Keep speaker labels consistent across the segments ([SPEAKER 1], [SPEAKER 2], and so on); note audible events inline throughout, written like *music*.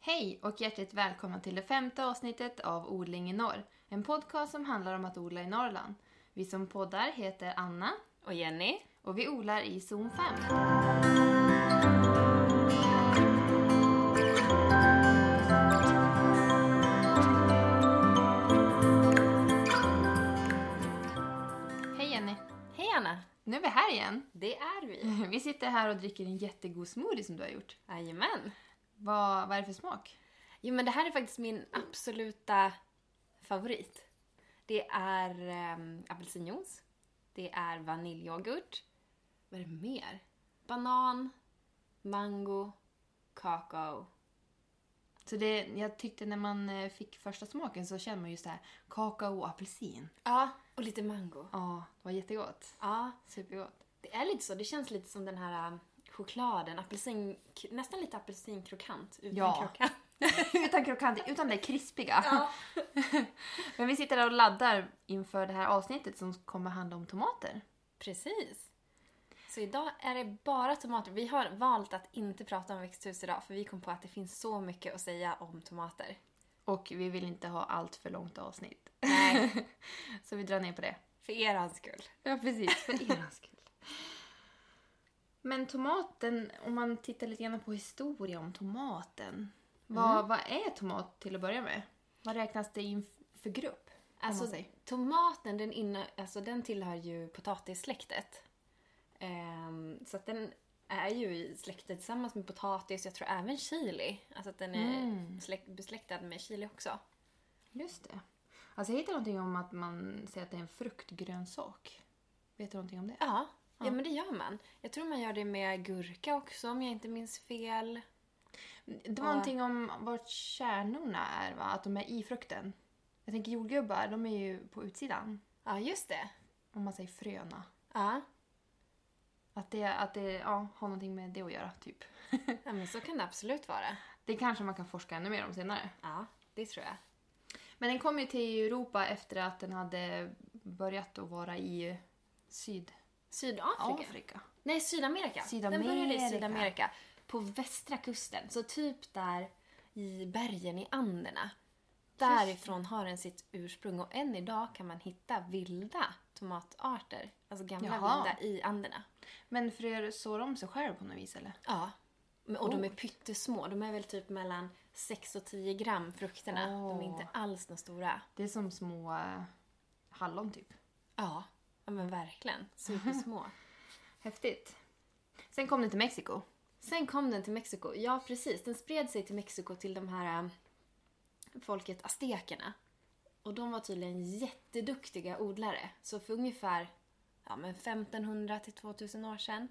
[SPEAKER 1] Hej och hjärtligt välkomna till det femte avsnittet av Odling i norr. En podcast som handlar om att odla i Norrland. Vi som poddar heter Anna
[SPEAKER 2] Och Jenny?
[SPEAKER 1] och vi odlar i zon 5. Hej Jenny!
[SPEAKER 2] Hej Anna!
[SPEAKER 1] Nu är vi här igen.
[SPEAKER 2] Det är vi!
[SPEAKER 1] Vi sitter här och dricker en jättegod smoothie som du har gjort.
[SPEAKER 2] Jajamän!
[SPEAKER 1] Vad, vad är det för smak?
[SPEAKER 2] Jo men det här är faktiskt min absoluta favorit. Det är ehm, apelsinjuice. Det är vaniljyoghurt. Vad är det mer? Banan, mango, kakao.
[SPEAKER 1] Så det, jag tyckte när man eh, fick första smaken så kände man just det här kakao och apelsin.
[SPEAKER 2] Ja, och lite mango.
[SPEAKER 1] Ja, det var jättegott.
[SPEAKER 2] Ja,
[SPEAKER 1] Supergott.
[SPEAKER 2] det är lite så. Det känns lite som den här ehm, chokladen, apelsin, nästan lite apelsinkrokant utan
[SPEAKER 1] Ja.
[SPEAKER 2] krokant.
[SPEAKER 1] utan krokant, utan det krispiga.
[SPEAKER 2] Ja.
[SPEAKER 1] *laughs* Men vi sitter där och laddar inför det här avsnittet som kommer handla om tomater.
[SPEAKER 2] Precis. Så idag är det bara tomater. Vi har valt att inte prata om växthus idag för vi kom på att det finns så mycket att säga om tomater.
[SPEAKER 1] Och vi vill inte ha allt för långt avsnitt. *laughs*
[SPEAKER 2] Nej,
[SPEAKER 1] Så vi drar ner på det.
[SPEAKER 2] för er skull.
[SPEAKER 1] Ja, precis. *laughs* För er skull. Men tomaten, om man tittar lite grann på historia om tomaten. Vad, vad är tomat till att börja med? Vad räknas det in för grupp? om
[SPEAKER 2] Alltså
[SPEAKER 1] man säger?
[SPEAKER 2] tomaten den, inne, alltså, den tillhör ju potatissläktet. Ehm, så att den är ju i släktet tillsammans med potatis jag tror även chili. Alltså att den är
[SPEAKER 1] Mm.
[SPEAKER 2] släk- besläktad med chili också.
[SPEAKER 1] Just det. Alltså jag hittade någonting om att man säger att det är en fruktgrönsak. Vet du någonting om det?
[SPEAKER 2] Ja, ja.
[SPEAKER 1] Ja.
[SPEAKER 2] men det gör man. Jag tror man gör det med gurka också om jag inte minns fel.
[SPEAKER 1] Det var
[SPEAKER 2] Ja.
[SPEAKER 1] någonting om vart kärnorna är va? Att de är i frukten. Jag tänker jordgubbar, de är ju på utsidan.
[SPEAKER 2] Ja, just det.
[SPEAKER 1] Om man säger fröna.
[SPEAKER 2] Ja,
[SPEAKER 1] Att det, att det ja, har någonting med det att göra, typ.
[SPEAKER 2] ja men så kan det absolut vara.
[SPEAKER 1] Det kanske man kan forska ännu mer om senare.
[SPEAKER 2] Ja, det tror jag.
[SPEAKER 1] Men den kom ju till Europa efter att den hade börjat att vara i Sydafrika.
[SPEAKER 2] Sydafrika? Nej, Sydamerika.
[SPEAKER 1] Sydamerika.
[SPEAKER 2] Den började i Sydamerika. På västra kusten, så typ där i bergen i Anderna. Därifrån har den sitt ursprung och än idag kan man hitta vilda tomatarter. Alltså gamla
[SPEAKER 1] Jaha.
[SPEAKER 2] vilda i Anderna.
[SPEAKER 1] Men fröer sår om sig själv på något vis, eller?
[SPEAKER 2] Ja. Men- Och de
[SPEAKER 1] Oh.
[SPEAKER 2] är pyttesmå. De är väl typ mellan 6 och 10 gram frukterna. De är
[SPEAKER 1] Åh.
[SPEAKER 2] inte alls några stora.
[SPEAKER 1] Det är som små eh, hallon, typ.
[SPEAKER 2] Ja, ja men verkligen. Supersmå.
[SPEAKER 1] Häftigt. Sen kom den till Mexiko.
[SPEAKER 2] Sen kom den till Mexiko. Ja, precis. Den spred sig till Mexiko till de här eh, folket aztekerna. Och de var tydligen jätteduktiga odlare. Så för ungefär ja, men 1500 till 2000 år sedan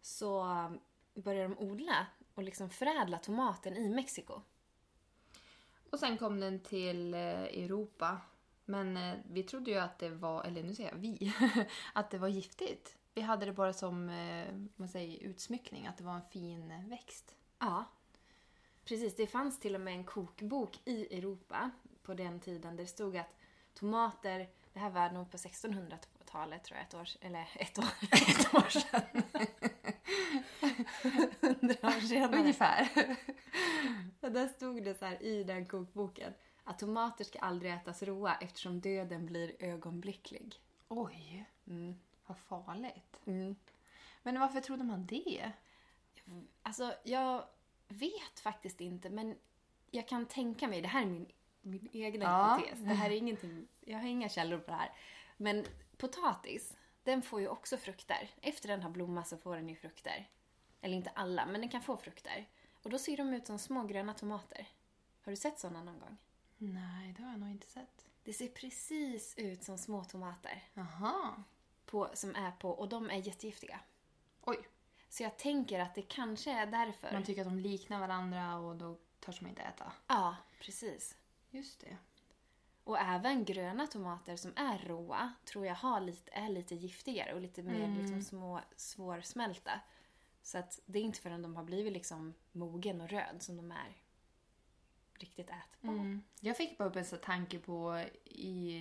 [SPEAKER 2] så eh, började de odla och liksom förädla tomaten i Mexiko.
[SPEAKER 1] Och sen kom den till eh, Europa. Men eh, vi trodde ju att det var, eller nu säger jag vi, *laughs* att det var giftigt. Vi hade det bara som eh, man säger, utsmyckning, att det var en fin eh, växt.
[SPEAKER 2] Ja. Precis, det fanns till och med en kokbok i Europa på den tiden där det stod att tomater, det här var nog på 1600-talet tror jag, ett år, eller *laughs* ett år, ett år sedan. *laughs* Hundra år senare.
[SPEAKER 1] Ungefär.
[SPEAKER 2] Och där stod det så här i den kokboken att tomater ska aldrig ätas råa eftersom döden blir ögonblicklig.
[SPEAKER 1] Oj,
[SPEAKER 2] Mm.
[SPEAKER 1] vad farligt.
[SPEAKER 2] Mm.
[SPEAKER 1] Men varför trodde man det?
[SPEAKER 2] Alltså, jag vet faktiskt inte, men jag kan tänka mig, det här är min, min egna
[SPEAKER 1] Ja.
[SPEAKER 2] hypotes. Det här är ingenting, jag har inga källor på det här. Men potatis, den får ju också frukter. Efter den har blommat så får den ju frukter. Eller inte alla, men den kan få frukter. Och då ser de ut som små gröna tomater. Har du sett sådana någon gång?
[SPEAKER 1] Nej, det har jag nog inte sett.
[SPEAKER 2] Det ser precis ut som små tomater.
[SPEAKER 1] Jaha.
[SPEAKER 2] På, som är på, och de är jättegiftiga.
[SPEAKER 1] Oj,
[SPEAKER 2] Så jag tänker att det kanske är därför.
[SPEAKER 1] man tycker att de liknar varandra och då törs man inte äta.
[SPEAKER 2] ja, precis.
[SPEAKER 1] Just det.
[SPEAKER 2] Och även gröna tomater som är råa tror jag har lite, är lite giftigare och lite mer
[SPEAKER 1] Mm.
[SPEAKER 2] liksom små, svårsmälta. Så att det är inte förrän de har blivit liksom mogen och röd som de är riktigt ätbara.
[SPEAKER 1] Mm. Jag fick bara upp en sån tanke på i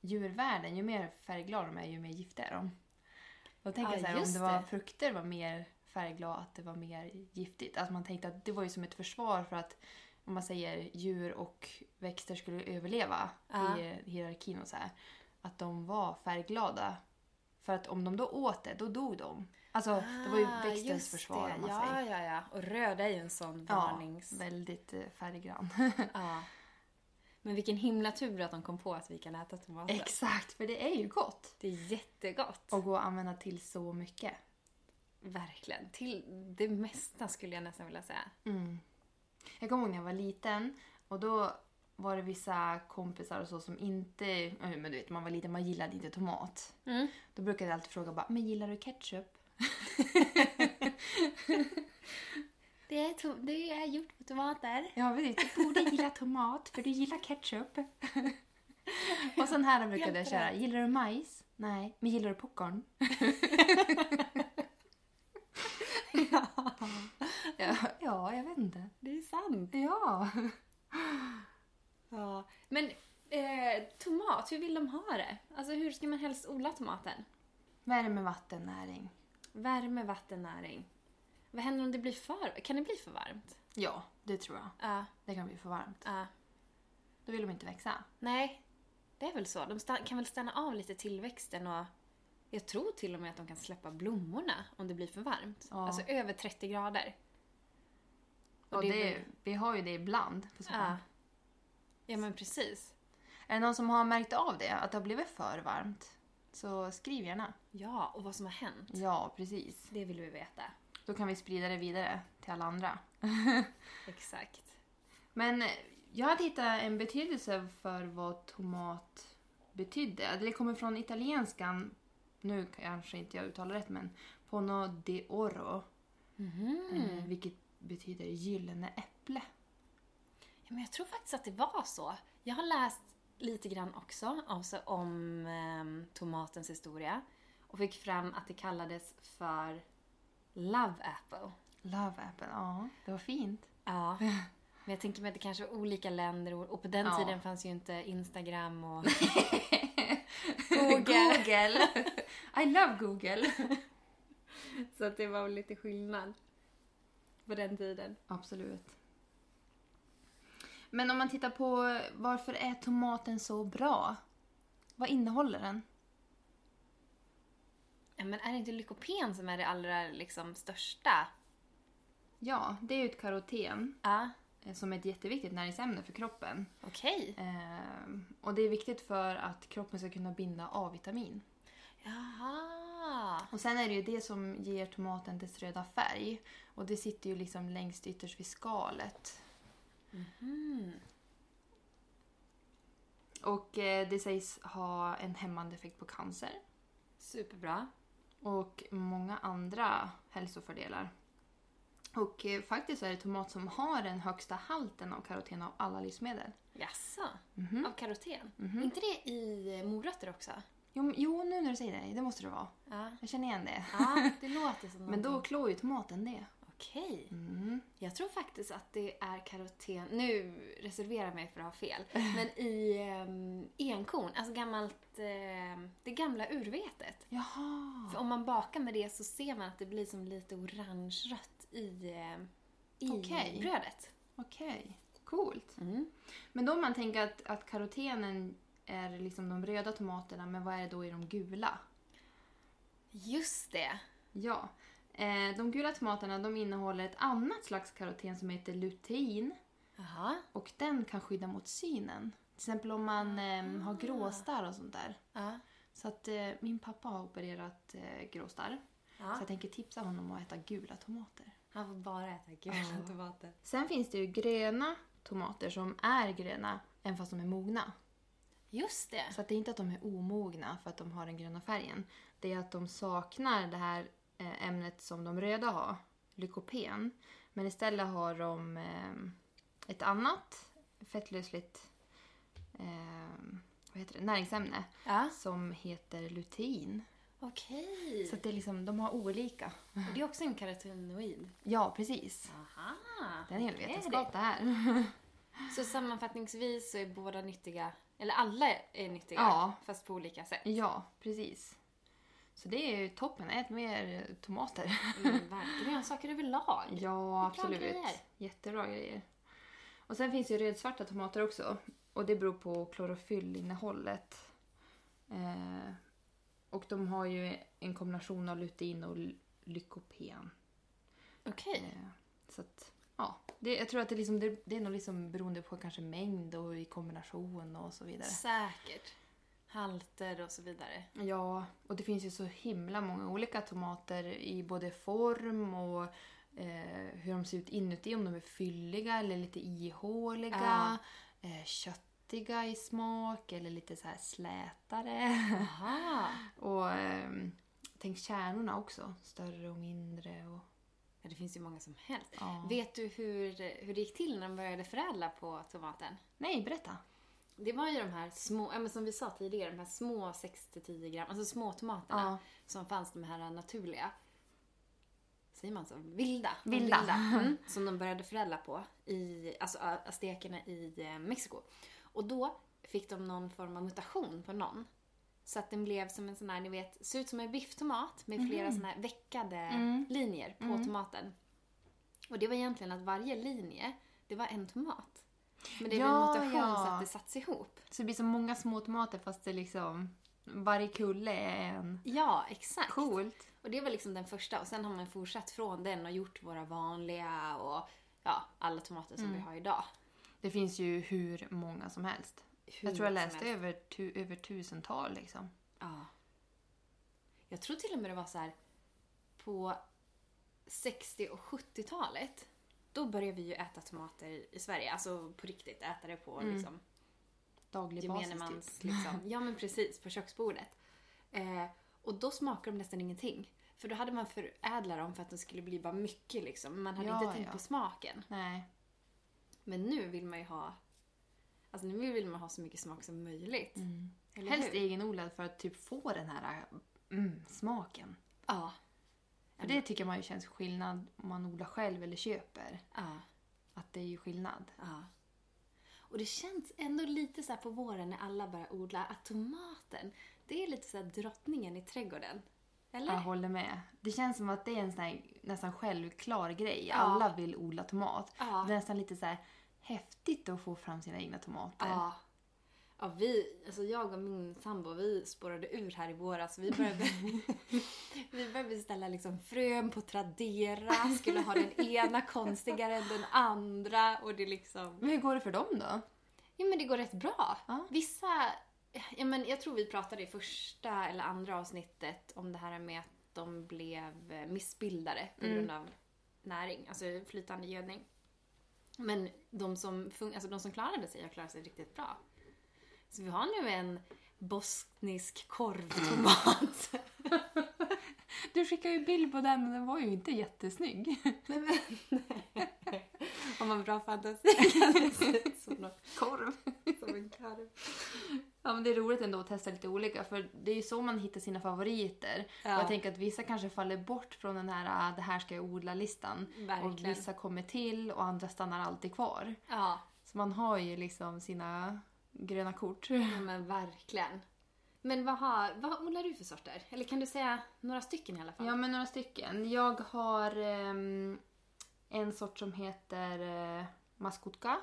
[SPEAKER 1] djurvärlden, ju mer färgglada de är ju mer giftiga är de. Då tänker
[SPEAKER 2] Ja,
[SPEAKER 1] jag så här, om
[SPEAKER 2] Ah, just
[SPEAKER 1] det var
[SPEAKER 2] det.
[SPEAKER 1] frukter var mer färgglada, att det var mer giftigt. Alltså man tänkte att det var ju som ett försvar för att om man säger djur och växter skulle överleva
[SPEAKER 2] Ja.
[SPEAKER 1] i hierarkin och så här. Att de var färgglada. För att om de då åt det, då dog de. Alltså, det var ju
[SPEAKER 2] Ah,
[SPEAKER 1] växtens
[SPEAKER 2] just
[SPEAKER 1] försvar
[SPEAKER 2] det.
[SPEAKER 1] om man
[SPEAKER 2] ja,
[SPEAKER 1] säger.
[SPEAKER 2] Ja, ja, Och röd är ju en sån varnings...
[SPEAKER 1] väldigt eh, färggrann. *laughs*
[SPEAKER 2] Ja. *laughs* Men vilken himla tur att de kom på att vi kan äta tomater.
[SPEAKER 1] Exakt, för det är ju gott.
[SPEAKER 2] det är jättegott.
[SPEAKER 1] Och går att använda till så mycket.
[SPEAKER 2] Verkligen. Till det mesta skulle jag nästan vilja säga.
[SPEAKER 1] Mm. Jag kommer ihåg när jag var liten och då var det vissa kompisar och så som inte, eh, men du vet man var liten, man gillade inte tomat.
[SPEAKER 2] Mm.
[SPEAKER 1] Då brukade jag alltid fråga bara, men gillar du ketchup?
[SPEAKER 2] Det är, to- det är gjort på tomater.
[SPEAKER 1] Ja precis, du borde gilla tomat för du gillar ketchup. *laughs* och sen här brukade jag
[SPEAKER 2] Helt
[SPEAKER 1] köra,
[SPEAKER 2] rätt.
[SPEAKER 1] gillar du majs? Nej, men gillar du popcorn? *laughs*
[SPEAKER 2] ja,
[SPEAKER 1] Ja, ja jag vet inte.
[SPEAKER 2] det är sant.
[SPEAKER 1] Ja.
[SPEAKER 2] Ja. Men eh, tomat, hur vill de ha det? Alltså hur ska man helst odla tomaten?
[SPEAKER 1] Värme, vatten, näring.
[SPEAKER 2] Värme, vatten, näring. Vad händer om det blir för Kan det bli för varmt?
[SPEAKER 1] Ja, det tror jag.
[SPEAKER 2] Ja.
[SPEAKER 1] Det kan bli för varmt.
[SPEAKER 2] ja.
[SPEAKER 1] Då vill de inte växa.
[SPEAKER 2] Nej, det är väl så. De sta- kan väl stanna av lite tillväxten och jag tror till och med att de kan släppa blommorna om det blir för varmt.
[SPEAKER 1] Ja.
[SPEAKER 2] Alltså över 30 grader.
[SPEAKER 1] Och
[SPEAKER 2] det är
[SPEAKER 1] det,
[SPEAKER 2] väl-
[SPEAKER 1] vi har ju det ibland på sommaren.
[SPEAKER 2] Ja. ja, men precis.
[SPEAKER 1] Är det någon som har märkt av det? Att det har blivit för varmt? Så skriv gärna.
[SPEAKER 2] Ja, och vad som har hänt.
[SPEAKER 1] Ja, precis.
[SPEAKER 2] Det vill vi veta.
[SPEAKER 1] Då kan vi sprida det vidare till alla andra.
[SPEAKER 2] Exakt.
[SPEAKER 1] Men eh, jag hade hittat en betydelse för vad tomat betydde. Det kommer från italienskan, nu kanske inte jag uttalar rätt, men Pono di Oro,
[SPEAKER 2] Mm-hmm.
[SPEAKER 1] eh, vilket betyder gyllene äpple.
[SPEAKER 2] Ja, men jag tror faktiskt att det var så. Jag har läst lite grann också alltså om ehm, tomatens historia och fick fram att det kallades för love apple.
[SPEAKER 1] Love apple, ja. Det var fint.
[SPEAKER 2] *laughs* Ja. Men jag tänker mig att det kanske var olika länder och, och på den
[SPEAKER 1] Ja.
[SPEAKER 2] tiden fanns ju inte Instagram *laughs* och *laughs*
[SPEAKER 1] Google. I love Google.
[SPEAKER 2] Så att det var väl lite skillnad på den tiden.
[SPEAKER 1] Absolut. Men om man tittar på varför är tomaten så bra? Vad innehåller den?
[SPEAKER 2] Ja, men är det inte lykopen som är det allra liksom största?
[SPEAKER 1] Ja, det är ju ett karoten
[SPEAKER 2] Ja.
[SPEAKER 1] eh, som är ett jätteviktigt näringsämne för kroppen.
[SPEAKER 2] Okej.
[SPEAKER 1] Ehm, och det är viktigt för att kroppen ska kunna binda A-vitamin.
[SPEAKER 2] Jaha.
[SPEAKER 1] Och sen är det ju det som ger tomaten dess röda färg. Och det sitter ju liksom längst ytterst vid skalet. Och eh, det sägs ha en hämmande effekt på cancer.
[SPEAKER 2] Superbra.
[SPEAKER 1] och många andra hälsofördelar. Och eh, faktiskt så är det tomat som har den högsta halten av karoten av alla livsmedel.
[SPEAKER 2] Jaså?
[SPEAKER 1] Mhm.
[SPEAKER 2] Av karoten? inte det i eh, morötter också?
[SPEAKER 1] Jo, men- jo, nu när du säger det, det måste det vara.
[SPEAKER 2] Ja.
[SPEAKER 1] Jag känner igen det.
[SPEAKER 2] Ja, det låter
[SPEAKER 1] *laughs*
[SPEAKER 2] som
[SPEAKER 1] Men då
[SPEAKER 2] någonting.
[SPEAKER 1] klår ju tomaten det.
[SPEAKER 2] Okej.
[SPEAKER 1] Mm.
[SPEAKER 2] Jag tror faktiskt att det är karoten, nu reserverar jag mig för att
[SPEAKER 1] *laughs*
[SPEAKER 2] ha fel, men i um, enkorn, alltså gammalt, ehm, det gamla urvetet.
[SPEAKER 1] Jaha.
[SPEAKER 2] För om man bakar med det så ser man att det blir som lite orange-rött i, ehm, i
[SPEAKER 1] Okej.
[SPEAKER 2] brödet.
[SPEAKER 1] Okej. Coolt.
[SPEAKER 2] Mm.
[SPEAKER 1] Men då om man tänker att, att karotenen är liksom de röda tomaterna, men vad är det då i de gula?
[SPEAKER 2] Just det!
[SPEAKER 1] Ja. Eh, de gula tomaterna de innehåller ett annat slags karoten som heter lutein.
[SPEAKER 2] Jaha.
[SPEAKER 1] Och den kan skydda mot synen. Till exempel om man ehm, har gråstarr och sånt där.
[SPEAKER 2] Ja.
[SPEAKER 1] Så att eh, min pappa har opererat eh, gråstarr. Så
[SPEAKER 2] Ja.
[SPEAKER 1] jag tänker tipsa honom att äta gula tomater.
[SPEAKER 2] Han får bara äta gula *laughs* tomater.
[SPEAKER 1] Sen finns det ju gröna tomater som är gröna även fast de är mogna.
[SPEAKER 2] Just det!
[SPEAKER 1] Så att det är inte att de är omogna för att de har den gröna färgen. Det är att de saknar det här eh, ämnet som de röda har, lykopen. Men istället har de ehm, ett annat fettlösligt ehm, vad heter det? näringsämne
[SPEAKER 2] Ja.
[SPEAKER 1] som heter lutein.
[SPEAKER 2] Okej.
[SPEAKER 1] Så att det är liksom, de har olika.
[SPEAKER 2] Och Det är också en karotenoid.
[SPEAKER 1] Ja, precis.
[SPEAKER 2] Aha.
[SPEAKER 1] Det är en hel
[SPEAKER 2] Okej.
[SPEAKER 1] vetenskap det här. *laughs*
[SPEAKER 2] Så sammanfattningsvis så är båda nyttiga, eller alla är nyttiga,
[SPEAKER 1] Ja.
[SPEAKER 2] fast på olika sätt.
[SPEAKER 1] ja, precis. Så det är ju toppen. Ät mer tomater.
[SPEAKER 2] Mm, verkligen. Grönsaker överlag.
[SPEAKER 1] Ja,
[SPEAKER 2] Det är bra
[SPEAKER 1] absolut.
[SPEAKER 2] grejer.
[SPEAKER 1] Jättebra grejer. Och Och sen finns ju rödsvarta tomater också. Och det beror på klorofyllinnehållet. Eh, och de har ju en kombination av lutein och ly- lykopen.
[SPEAKER 2] Okej.
[SPEAKER 1] Eh, så att, ja. Det, jag tror att det, liksom, det, det är nog liksom beroende på kanske mängd och i kombination och så vidare.
[SPEAKER 2] Säkert. Halter och så vidare.
[SPEAKER 1] Ja, och det finns ju så himla många olika tomater i både form och eh, hur de ser ut inuti, om de är fylliga eller lite ihåliga, eh, köttiga i smak eller lite så här slätare. *laughs*
[SPEAKER 2] Aha.
[SPEAKER 1] och ehm, tänk kärnorna också, större och mindre. Och,
[SPEAKER 2] Ja, det finns ju många som helst.
[SPEAKER 1] ja.
[SPEAKER 2] Vet du hur, hur det gick till när de började förädla på tomaten?
[SPEAKER 1] Nej, berätta!
[SPEAKER 2] Det var ju de här små, ja, men som vi sa tidigare, de här små 6-10 gram, alltså små tomaterna
[SPEAKER 1] Ja.
[SPEAKER 2] som fanns, de här naturliga. Säger man så? Vilda. De
[SPEAKER 1] Vilda. *laughs*
[SPEAKER 2] Mm, som de började förädla på, i, alltså a- aztekerna i eh, Mexiko. Och då fick de någon form av mutation på någon. Så att den blev som en sån här, ni vet, ser ut som en bifftomat med flera såna här veckade
[SPEAKER 1] Mhm. Mm.
[SPEAKER 2] linjer på tomaten. Och det var egentligen att varje linje, det var en tomat. Men det blev en
[SPEAKER 1] Ja,
[SPEAKER 2] mutation
[SPEAKER 1] ja.
[SPEAKER 2] så att det sattes ihop.
[SPEAKER 1] Så det blir så många små tomater fast det liksom, varje kulle är en.
[SPEAKER 2] Ja, exakt.
[SPEAKER 1] Coolt!
[SPEAKER 2] Och det var liksom den första och sen har man fortsatt från den och gjort våra vanliga och ja, alla tomater som
[SPEAKER 1] Mm.
[SPEAKER 2] vi har idag.
[SPEAKER 1] Det finns ju hur många som helst.
[SPEAKER 2] Hur
[SPEAKER 1] jag tror jag
[SPEAKER 2] som
[SPEAKER 1] läste
[SPEAKER 2] helst.
[SPEAKER 1] över, tu, över tusental liksom.
[SPEAKER 2] Ja. Jag tror till och med det var så här på 60 och 70-talet. Då började vi ju äta tomater i Sverige, alltså på riktigt äta det på liksom
[SPEAKER 1] Daglig
[SPEAKER 2] gemene
[SPEAKER 1] Mm. basis
[SPEAKER 2] mans,
[SPEAKER 1] typ. *laughs*
[SPEAKER 2] liksom. Ja men precis, på köksbordet. Eh, och då smakade de nästan ingenting. För då hade man förädlat dem för att de skulle bli bara mycket liksom. Man hade
[SPEAKER 1] Ja,
[SPEAKER 2] inte tänkt
[SPEAKER 1] ja.
[SPEAKER 2] på smaken.
[SPEAKER 1] Nej.
[SPEAKER 2] Men nu vill man ju ha Alltså nu vill man ha så mycket smak som möjligt. Eller
[SPEAKER 1] Mm. Helst
[SPEAKER 2] hur?
[SPEAKER 1] egenodlad för att typ få den här mm, smaken.
[SPEAKER 2] Ja.
[SPEAKER 1] För det tycker man ju känns skillnad om man odlar själv eller köper.
[SPEAKER 2] ja,
[SPEAKER 1] Att det är ju skillnad.
[SPEAKER 2] ja. Och det känns ändå lite så här på våren när alla börjar odla att tomaten, det är lite så här drottningen i trädgården. Eller?
[SPEAKER 1] Jag håller med. Det känns som att det är en sån här, nästan självklar grej.
[SPEAKER 2] Ja.
[SPEAKER 1] Alla vill odla tomat.
[SPEAKER 2] Ja.
[SPEAKER 1] Det är nästan lite så här häftigt att få fram sina egna tomater.
[SPEAKER 2] Ja. Ja, vi, alltså jag och min sambo, vi spårade ur här i våras. Vi började, vi började beställa liksom frön på Tradera, skulle ha den ena konstigare än den andra och det liksom...
[SPEAKER 1] Men hur går det för dem då?
[SPEAKER 2] Ja men det går rätt bra.
[SPEAKER 1] Ja.
[SPEAKER 2] Vissa, ja men jag tror vi pratade i första eller andra avsnittet om det här med att de blev eh, missbildade på grund av näring, alltså flytande gödning. Men de som, fun- alltså de som klarade sig har klarat sig riktigt bra. Så vi har nu en bosnisk korvtomat. *laughs*
[SPEAKER 1] Du skickade ju bild på den och den var ju inte *laughs* jättesnygg.
[SPEAKER 2] Nej, men, Om man har bra fantasi *laughs* kan det se ut som, något,
[SPEAKER 1] Korv.
[SPEAKER 2] som en korv.
[SPEAKER 1] Ja, men det är roligt ändå att testa lite olika för det är ju så man hittar sina favoriter.
[SPEAKER 2] Ja.
[SPEAKER 1] Och jag tänker att vissa kanske faller bort från den här ah, det här ska jag odla-listan. Och
[SPEAKER 2] Verkligen.
[SPEAKER 1] vissa kommer till och andra stannar alltid kvar.
[SPEAKER 2] Ja.
[SPEAKER 1] Så man har ju liksom sina gröna kort.
[SPEAKER 2] Ja men verkligen. Men vad, har, vad odlar du för sorter? Eller kan du säga några stycken i alla fall?
[SPEAKER 1] Ja, men några stycken. Jag har ehm, en sort som heter eh, maskotka.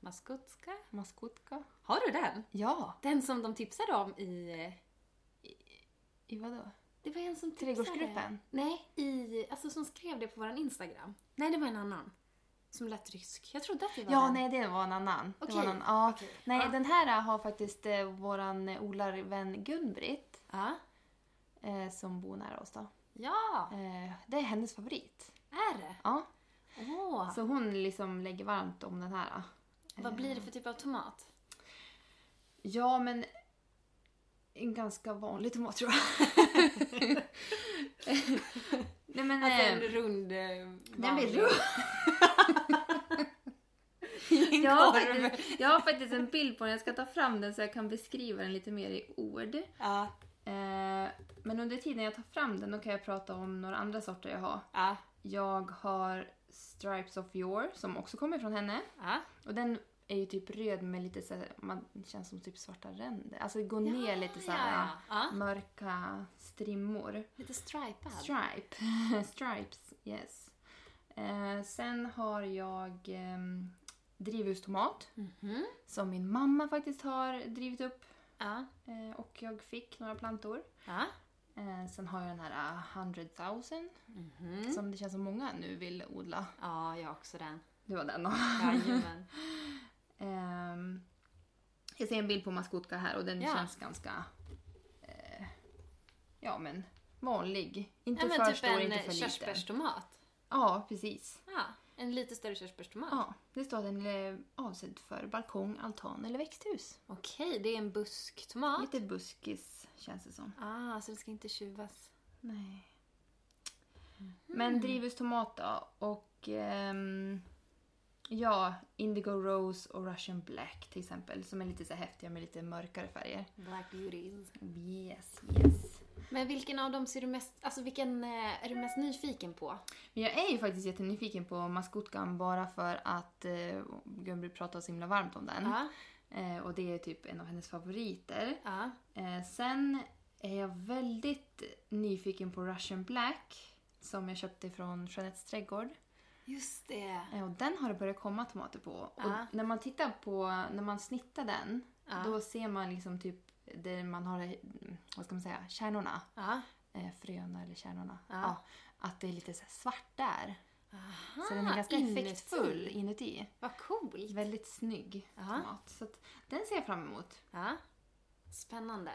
[SPEAKER 2] Maskotska.
[SPEAKER 1] Maskotka?
[SPEAKER 2] Har du den?
[SPEAKER 1] Ja!
[SPEAKER 2] Den som de tipsade om i...
[SPEAKER 1] I vadå?
[SPEAKER 2] Det var en som tipsade.
[SPEAKER 1] Trädgårdsgruppen?
[SPEAKER 2] Nej, i, alltså som skrev det på vår Instagram. Nej, det var en annan. Som lät rysk. Jag trodde att det var
[SPEAKER 1] Ja,
[SPEAKER 2] den.
[SPEAKER 1] nej det var en annan. Det var en
[SPEAKER 2] Okej,
[SPEAKER 1] annan. Ja.
[SPEAKER 2] okej.
[SPEAKER 1] Nej,
[SPEAKER 2] Ja.
[SPEAKER 1] den här har faktiskt eh, våran odlarvän Gun-Britt
[SPEAKER 2] Ja.
[SPEAKER 1] eh, som bor nära oss då.
[SPEAKER 2] Ja,
[SPEAKER 1] Eh, det är hennes favorit.
[SPEAKER 2] är det?
[SPEAKER 1] Ja.
[SPEAKER 2] Åh.
[SPEAKER 1] Så hon liksom lägger varmt om den här.
[SPEAKER 2] Vad blir det för typ av tomat?
[SPEAKER 1] Ja, men en ganska vanlig tomat tror jag. *laughs* Nej men...
[SPEAKER 2] Alltså
[SPEAKER 1] eh,
[SPEAKER 2] en rund... eh,
[SPEAKER 1] den blir
[SPEAKER 2] vanlig-
[SPEAKER 1] rund.
[SPEAKER 2] *laughs* i en
[SPEAKER 1] Jag har,
[SPEAKER 2] korv.
[SPEAKER 1] faktiskt, jag har faktiskt en bild på den, jag ska ta fram den så jag kan beskriva den lite mer i ord.
[SPEAKER 2] Ja.
[SPEAKER 1] Eh, men under tiden jag tar fram den då kan jag prata om några andra sorter jag har.
[SPEAKER 2] Ja.
[SPEAKER 1] Jag har Stripes of Yore som också kommer från henne.
[SPEAKER 2] Ja.
[SPEAKER 1] Och den är ju typ röd med lite så här, man det känns som typ svarta ränder. Alltså det går ner lite så här
[SPEAKER 2] ja, ja. Ja.
[SPEAKER 1] mörka strimmor.
[SPEAKER 2] Lite stripad.
[SPEAKER 1] Stripe. *laughs* Stripes, yes. Eh, sen har jag ehm, drivhustomat
[SPEAKER 2] Mhm.
[SPEAKER 1] som min mamma faktiskt har drivit upp
[SPEAKER 2] Ja.
[SPEAKER 1] eh, och jag fick några plantor.
[SPEAKER 2] Ja.
[SPEAKER 1] Eh, Sen har jag den här eh, 100 000
[SPEAKER 2] Mhm.
[SPEAKER 1] som det känns som många nu vill odla.
[SPEAKER 2] Ja, jag har
[SPEAKER 1] *laughs*
[SPEAKER 2] också den.
[SPEAKER 1] Det var den. då.
[SPEAKER 2] Jajamän.
[SPEAKER 1] Ehm, jag ser en bild på maskotka här och den
[SPEAKER 2] Ja.
[SPEAKER 1] känns ganska... Eh, ja, men vanlig. Inte
[SPEAKER 2] Ja, men
[SPEAKER 1] för
[SPEAKER 2] typ
[SPEAKER 1] stor, inte
[SPEAKER 2] en
[SPEAKER 1] för liten.
[SPEAKER 2] körsbärstomat.
[SPEAKER 1] Ja, precis.
[SPEAKER 2] Ja, en lite större körsbärstomat.
[SPEAKER 1] Ja, det står att den är avsedd för balkong, altan eller växthus.
[SPEAKER 2] Okej, det är en busktomat.
[SPEAKER 1] Lite buskis känns det som.
[SPEAKER 2] Ah, så den ska inte tjuvas.
[SPEAKER 1] Nej.
[SPEAKER 2] Mm-hmm.
[SPEAKER 1] Men drivhustomat då och ehm, ja, Indigo Rose och Russian Black till exempel som är lite så här häftiga med lite mörkare färger.
[SPEAKER 2] Black beauties.
[SPEAKER 1] Yes, yes.
[SPEAKER 2] Men vilken av dem ser du mest, alltså vilken eh, är du mest nyfiken på?
[SPEAKER 1] Men jag är ju faktiskt jättenyfiken på maskotkan bara för att eh, Gun-Britt pratar så himla varmt om den.
[SPEAKER 2] Ja,
[SPEAKER 1] Eh, och det är typ en av hennes favoriter.
[SPEAKER 2] ja.
[SPEAKER 1] Eh, sen är jag väldigt nyfiken på Russian Black som jag köpte från Jeanettes trädgård.
[SPEAKER 2] Just det.
[SPEAKER 1] Eh, Och den har det börjat komma tomater på. Och
[SPEAKER 2] Ja.
[SPEAKER 1] när man tittar på, när man snittar den,
[SPEAKER 2] Ja.
[SPEAKER 1] då ser man liksom typ där man har, eh, vad ska man säga, kärnorna.
[SPEAKER 2] Ja.
[SPEAKER 1] Eh, fröna eller kärnorna.
[SPEAKER 2] Ja.
[SPEAKER 1] att det är lite så här svart där.
[SPEAKER 2] Aha,
[SPEAKER 1] så den är ganska
[SPEAKER 2] inuti.
[SPEAKER 1] effektfull Ah, inuti.
[SPEAKER 2] Vad coolt.
[SPEAKER 1] Väldigt snygg
[SPEAKER 2] Ja.
[SPEAKER 1] tomat. Så att, den ser jag fram emot.
[SPEAKER 2] Ja. Spännande.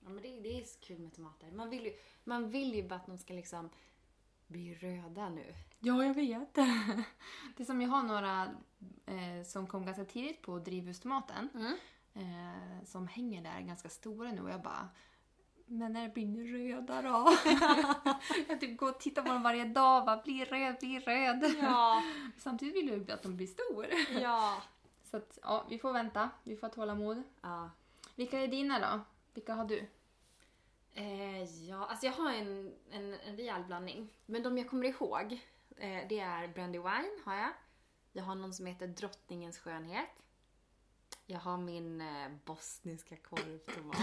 [SPEAKER 2] Ja, men det, det är så kul med tomater. Man vill, ju, man vill ju bara att de ska liksom bli röda nu.
[SPEAKER 1] Ja, jag *laughs* vet. det är som jag har några eh, som kom ganska tidigt på drivhustomaten.
[SPEAKER 2] Mm.
[SPEAKER 1] Eh, som hänger där ganska stora nu och jag bara men när blir ni röda då? *laughs* jag typ går och tittar på dem varje dag bara bli röd, bli röd.
[SPEAKER 2] Ja,
[SPEAKER 1] Samtidigt vill jag ju att de blir stora.
[SPEAKER 2] ja.
[SPEAKER 1] Så att, ja, vi får vänta. Vi får ha tålamod.
[SPEAKER 2] *laughs* ja.
[SPEAKER 1] Vilka är dina då? Vilka har du?
[SPEAKER 2] Eh, ja, alltså jag har en, en, en rejäl blandning. Men de jag kommer ihåg, eh, det är Brandywine har jag. Jag har någon som heter Drottningens skönhet. Jag har min eh, bosniska *laughs* korvtomat.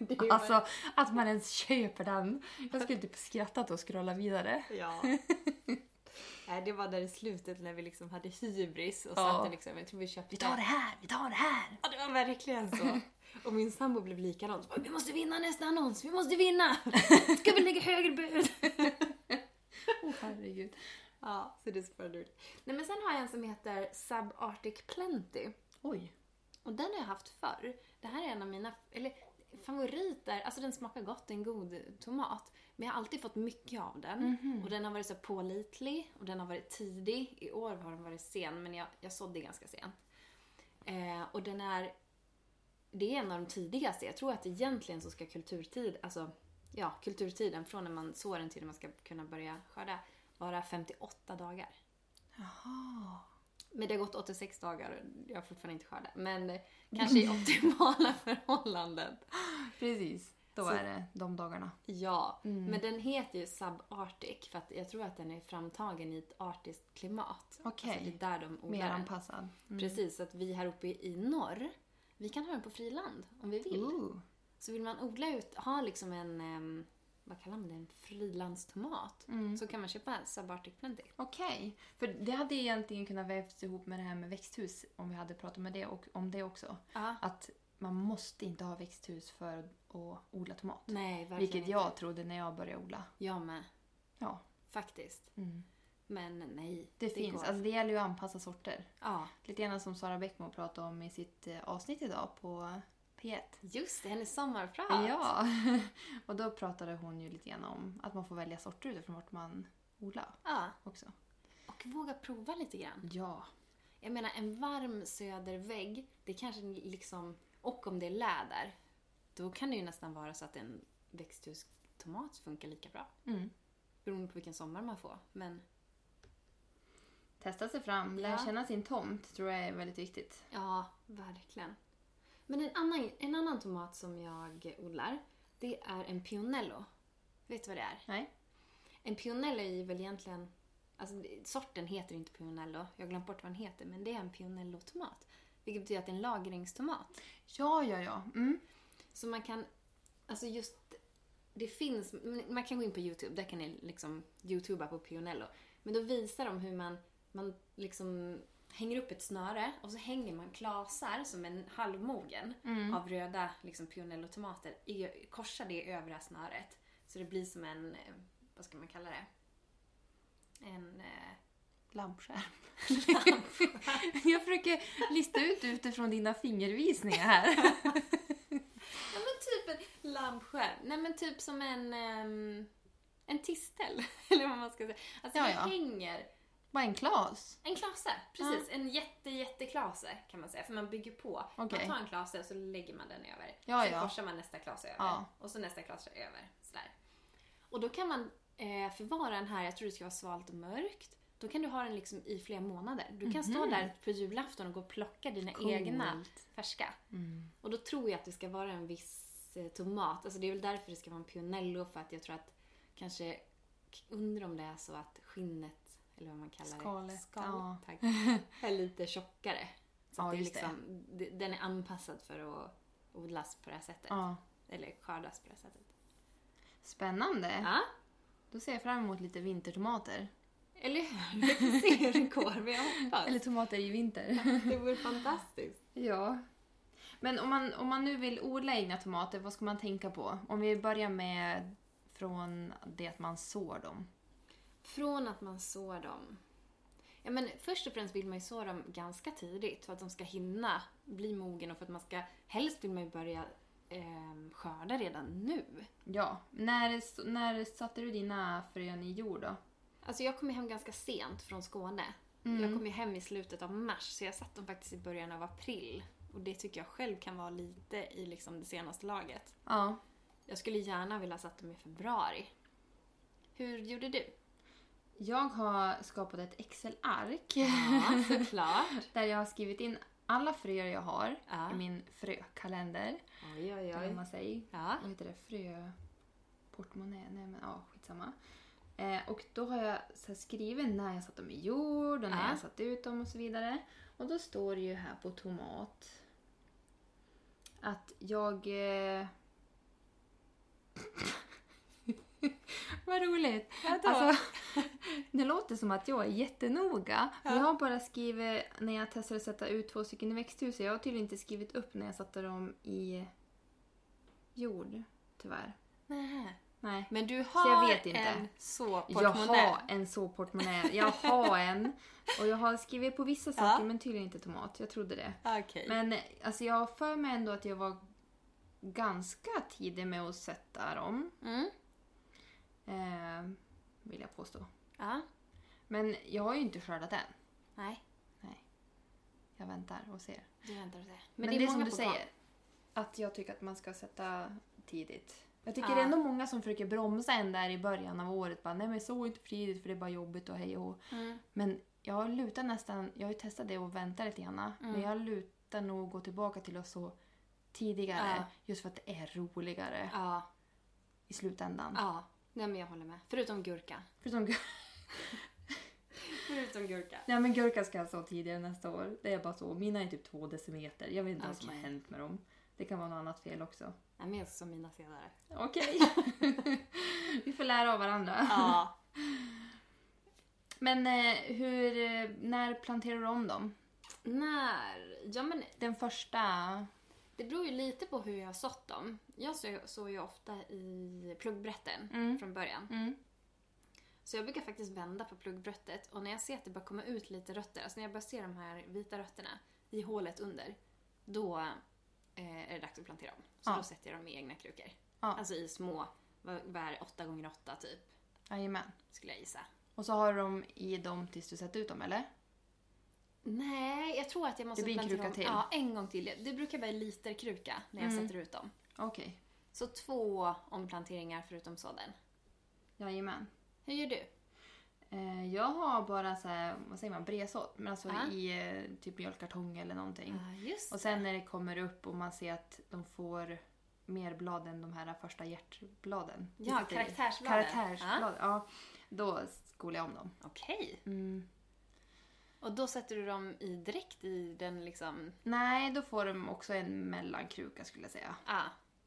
[SPEAKER 2] Det är
[SPEAKER 1] Alltså att man ens köper den. Jag skulle typ skrattat och scrolla vidare.
[SPEAKER 2] bara- *laughs* Ja. Nej, det var där i slutet när vi liksom hade hybris och
[SPEAKER 1] Ja.
[SPEAKER 2] satte liksom, jag tror vi köpte...
[SPEAKER 1] Vi tar det här, vi tar det här!
[SPEAKER 2] Ja, det var verkligen *laughs* så. Och min sambo blev likadan. Så bara, Vi måste vinna nästa annons, vi måste *laughs* vinna! Ska vi lägga högre bud?
[SPEAKER 1] Åh herregud.
[SPEAKER 2] Ja, så det spårade ur. Nej men sen har jag en som heter Subarctic Plenty.
[SPEAKER 1] Oj.
[SPEAKER 2] Och den har jag haft förr. Det här är en av mina eller, favoriter. Alltså den smakar gott, det är en god tomat. Men jag har alltid fått mycket av den. Och den har varit så pålitlig och den har varit tidig. I år har den varit sen, men jag, jag sådde ganska sent. Eh, och den är... Det är en av de tidigaste. Jag tror att egentligen så ska kulturtid, alltså ja, kulturtiden från när man sår den till när man ska kunna börja skörda, vara 58 dagar.
[SPEAKER 1] Jaha.
[SPEAKER 2] Men det har gått 86 dagar och jag har fortfarande inte skördat. Men
[SPEAKER 1] *laughs*
[SPEAKER 2] kanske i optimala förhållanden.
[SPEAKER 1] Precis. Då
[SPEAKER 2] Så-
[SPEAKER 1] är det de dagarna.
[SPEAKER 2] Ja,
[SPEAKER 1] Mm.
[SPEAKER 2] men den heter ju Subarctic för att jag tror att den är framtagen i ett artiskt klimat.
[SPEAKER 1] Okej.
[SPEAKER 2] Alltså det är där de
[SPEAKER 1] Mer
[SPEAKER 2] odlar den.
[SPEAKER 1] anpassad.
[SPEAKER 2] Precis, så att vi här uppe i norr, vi kan ha den på friland om vi vill.
[SPEAKER 1] Ooh.
[SPEAKER 2] Så vill man odla ut, ha liksom en, em, vad kallar man det, en frilandstomat.
[SPEAKER 1] Mm.
[SPEAKER 2] Så kan man köpa Subarctic Plenty.
[SPEAKER 1] Okej. För det hade egentligen kunnat vävts ihop med det här med växthus om vi hade pratat med det och om det också.
[SPEAKER 2] Ja.
[SPEAKER 1] Att man måste inte ha växthus för att odla tomat.
[SPEAKER 2] Nej, verkligen
[SPEAKER 1] Vilket
[SPEAKER 2] inte.
[SPEAKER 1] jag trodde när jag började odla.
[SPEAKER 2] Jag med,
[SPEAKER 1] Ja.
[SPEAKER 2] faktiskt.
[SPEAKER 1] Mm.
[SPEAKER 2] Men nej,
[SPEAKER 1] Det, finns.
[SPEAKER 2] går.
[SPEAKER 1] Alltså det gäller ju att anpassa sorter.
[SPEAKER 2] Ja.
[SPEAKER 1] Lite grann som Sara Bäckmo pratade om i sitt eh, avsnitt idag på P1.
[SPEAKER 2] Just det, hennes sommarprat.
[SPEAKER 1] Ja. *laughs* och då pratade hon ju lite grann om att man får välja sorter utifrån vart man odlar
[SPEAKER 2] Ja,
[SPEAKER 1] också.
[SPEAKER 2] Och våga prova lite grann.
[SPEAKER 1] Ja.
[SPEAKER 2] Jag menar, en varm södervägg, det kanske liksom... Och om det är läder, då kan det ju nästan vara så att en växthustomat funkar lika bra.
[SPEAKER 1] Mm.
[SPEAKER 2] Beroende på vilken sommar man får. Men
[SPEAKER 1] Testa sig fram, lära
[SPEAKER 2] Ja.
[SPEAKER 1] känna sin tomt tror jag är väldigt viktigt.
[SPEAKER 2] ja, verkligen. Men en annan, en annan tomat som jag odlar, det är en pionello. Vet du vad det är?
[SPEAKER 1] Nej?
[SPEAKER 2] En pionello är väl egentligen... Alltså, det- sorten heter inte pionello. Jag har glömt bort vad den heter. Men det är en pionellotomat. Vilket betyder att det är en lagringstomat.
[SPEAKER 1] Ja, ja, ja. Mm.
[SPEAKER 2] Så man kan... Alltså just... Det finns... Man kan gå in på YouTube. Där kan ni liksom youtuba på pionello. Men då visar de hur man, man liksom hänger upp ett snöre och så hänger man klasar som en halvmogen
[SPEAKER 1] Mm.
[SPEAKER 2] av röda liksom, pionellotomater. i- Korsar det över det här snöret. Så det blir som en, eh, vad ska man kalla det? En... Eh, *laughs*
[SPEAKER 1] Lampskärm. *laughs* jag försöker lista ut utifrån dina fingervisningar här. *laughs*
[SPEAKER 2] ja men typ en lampskärm. Nej men typ som en... ehm, en tistel. *laughs* Eller vad man ska säga. Alltså
[SPEAKER 1] Ja,
[SPEAKER 2] det
[SPEAKER 1] ja.
[SPEAKER 2] hänger
[SPEAKER 1] Bara en klas.
[SPEAKER 2] En klase, precis. En jätte, jätteklase kan man säga. För man bygger på.
[SPEAKER 1] Okej.
[SPEAKER 2] Man tar en klase och så lägger man den över.
[SPEAKER 1] Ja,
[SPEAKER 2] Sen
[SPEAKER 1] ja.
[SPEAKER 2] korsar man nästa klase över.
[SPEAKER 1] Ja.
[SPEAKER 2] Och så nästa klase över. Sådär. Och då kan man eh, förvara den här, jag tror det ska vara svalt och mörkt. Då kan du ha den liksom i flera månader. Du kan stå där på julafton och gå och plocka dina egna
[SPEAKER 1] Mhm. Coolt.
[SPEAKER 2] färska.
[SPEAKER 1] Mm.
[SPEAKER 2] Och då tror jag att det ska vara en viss eh, tomat. Alltså det är väl därför det ska vara en pionello. För att jag tror att kanske, undrar om det är så att skinnet, eller vad man kallar det.
[SPEAKER 1] Skalet, ja.
[SPEAKER 2] tack.
[SPEAKER 1] *laughs*
[SPEAKER 2] Är lite tjockare. Så
[SPEAKER 1] Ja,
[SPEAKER 2] att det är
[SPEAKER 1] just det.
[SPEAKER 2] liksom, det. den är anpassad för att odlas på det här sättet.
[SPEAKER 1] Ja.
[SPEAKER 2] Eller skördas på det här sättet.
[SPEAKER 1] Spännande.
[SPEAKER 2] Ja,
[SPEAKER 1] Då ser jag fram emot lite vintertomater.
[SPEAKER 2] eller hur? Vi får se hur det går, men jag hoppas.
[SPEAKER 1] Eller tomater i vinter.
[SPEAKER 2] Det vore fantastiskt.
[SPEAKER 1] Ja. Men om man, om man nu vill odla egna tomater, vad ska man tänka på? Om vi börjar med från det att man sår dem.
[SPEAKER 2] Från att man sår dem. Ja, men först och främst vill man ju så dem ganska tidigt för att de ska hinna bli mogen och för att man ska... Helst vill man ju börja ehm, skörda redan nu.
[SPEAKER 1] Ja. När, när satte du dina frön i jord då?
[SPEAKER 2] Alltså jag kom ju hem ganska sent från Skåne. Jag kom ju hem i slutet av mars så jag satt dem faktiskt i början av april. Och det tycker jag själv kan vara lite i liksom det senaste laget.
[SPEAKER 1] Ja.
[SPEAKER 2] Jag skulle gärna vilja satt dem i februari. Hur gjorde du?
[SPEAKER 1] Jag har skapat ett Excel-ark
[SPEAKER 2] Ja, såklart.
[SPEAKER 1] där jag har skrivit in alla fröer jag har
[SPEAKER 2] Ja.
[SPEAKER 1] i min frökalender.
[SPEAKER 2] Oj, oj,
[SPEAKER 1] Eller vad
[SPEAKER 2] oj.
[SPEAKER 1] man säger.
[SPEAKER 2] Ja.
[SPEAKER 1] vad heter det, fröportmonnaie, nej men ja skitsamma. Eh, och då har jag så här skrivit när jag satt dem i jord och när
[SPEAKER 2] Ja.
[SPEAKER 1] jag satt ut dem och så vidare. Och då står det ju här på tomat att jag... Eh... *laughs* Vad roligt!
[SPEAKER 2] Vadå?
[SPEAKER 1] Alltså, *laughs* det låter som att jag är jättenoga. Men jag har bara skrivit när jag testade att sätta ut två stycken i växthuset. Jag har tydligen inte skrivit upp när jag satte dem i jord, tyvärr.
[SPEAKER 2] Nej.
[SPEAKER 1] Nej.
[SPEAKER 2] Men du
[SPEAKER 1] jag
[SPEAKER 2] har
[SPEAKER 1] vet inte.
[SPEAKER 2] en så
[SPEAKER 1] Jag
[SPEAKER 2] portmonnä.
[SPEAKER 1] har en såportmonnä. Jag
[SPEAKER 2] *laughs*
[SPEAKER 1] har en. Och jag har skrivit på vissa saker men tydligen inte tomat. Jag trodde det.
[SPEAKER 2] Okej.
[SPEAKER 1] Men alltså, jag har för mig ändå att jag var ganska tidig med att sätta dem.
[SPEAKER 2] Mm.
[SPEAKER 1] Eh, vill jag påstå.
[SPEAKER 2] Ja.
[SPEAKER 1] Men jag har ju inte skördat än.
[SPEAKER 2] Nej,
[SPEAKER 1] Jag väntar och ser.
[SPEAKER 2] du väntar och ser.
[SPEAKER 1] Men, det är, som
[SPEAKER 2] många
[SPEAKER 1] du
[SPEAKER 2] på gång.
[SPEAKER 1] säger. Att jag tycker att man ska sätta tidigt. Jag tycker
[SPEAKER 2] Ja.
[SPEAKER 1] det är ändå många som försöker bromsa en där i början av året. Bara, Nej men så inte för tidigt för det är bara jobbigt och hej och hå."
[SPEAKER 2] Mm.
[SPEAKER 1] Men jag lutar nästan, jag har ju testat det och väntar lite grann.
[SPEAKER 2] Mm.
[SPEAKER 1] Men jag lutar nog att gå tillbaka till att så tidigare.
[SPEAKER 2] Ja.
[SPEAKER 1] Just för att det är roligare
[SPEAKER 2] Ja.
[SPEAKER 1] i slutändan.
[SPEAKER 2] Ja. Nej men jag håller med. Förutom gurka.
[SPEAKER 1] Förutom gur-
[SPEAKER 2] Förutom gurka.
[SPEAKER 1] *laughs* Nej men gurka ska jag så tidigare nästa år. Det är bara så. Mina är typ två decimeter. Jag vet inte vad som har
[SPEAKER 2] Okej.
[SPEAKER 1] hänt med dem. Det kan vara något annat fel också.
[SPEAKER 2] Nej men jag ska som mina senare. *laughs*
[SPEAKER 1] Okej. Vi får lära av varandra.
[SPEAKER 2] Ja.
[SPEAKER 1] Men eh, hur, eh, när planterar du om dem?
[SPEAKER 2] *laughs* När? Ja men
[SPEAKER 1] Den första...
[SPEAKER 2] det beror ju lite på hur jag har sått dem. Jag så- sår ju ofta i pluggbrätten
[SPEAKER 1] Mm.
[SPEAKER 2] från början. Så jag brukar faktiskt vända på pluggbrättet och när jag ser att det börjar komma ut lite rötter, alltså när jag börjar se de här vita rötterna i hålet under, då eh, är det dags att plantera om. Så
[SPEAKER 1] Ja.
[SPEAKER 2] då sätter jag dem i egna krukor.
[SPEAKER 1] Ja.
[SPEAKER 2] Alltså i små, vad vad är det, 8 gånger 8 typ,
[SPEAKER 1] Jajamän.
[SPEAKER 2] skulle jag gissa.
[SPEAKER 1] Och så har du dem i dem tills du sätter ut dem, eller?
[SPEAKER 2] Nej, jag tror att jag måste
[SPEAKER 1] Det blir en
[SPEAKER 2] plantera
[SPEAKER 1] kruka
[SPEAKER 2] om-
[SPEAKER 1] till.
[SPEAKER 2] Ja, en gång till. Mm. Det brukar vara en literkruka när jag sätter ut dem.
[SPEAKER 1] Okej.
[SPEAKER 2] Så två omplanteringar förutom sådden.
[SPEAKER 1] Jajamän.
[SPEAKER 2] Hur gör du?
[SPEAKER 1] Eh, jag har bara så här, vad säger man, bredsått. Men alltså
[SPEAKER 2] Ja.
[SPEAKER 1] i eh, typ mjölkkartong eller någonting.
[SPEAKER 2] Ja, just
[SPEAKER 1] Och sen när det kommer upp och man ser att de får mer blad än de här första hjärtbladen.
[SPEAKER 2] Ja,
[SPEAKER 1] Visst heter det?
[SPEAKER 2] karaktärsbladen.
[SPEAKER 1] Karaktärsblad, ja. Då skolar jag om dem.
[SPEAKER 2] Okej.
[SPEAKER 1] Mm.
[SPEAKER 2] Och då sätter du dem i direkt i den liksom...
[SPEAKER 1] Nej, då får de också en mellankruka skulle jag säga.
[SPEAKER 2] Ah,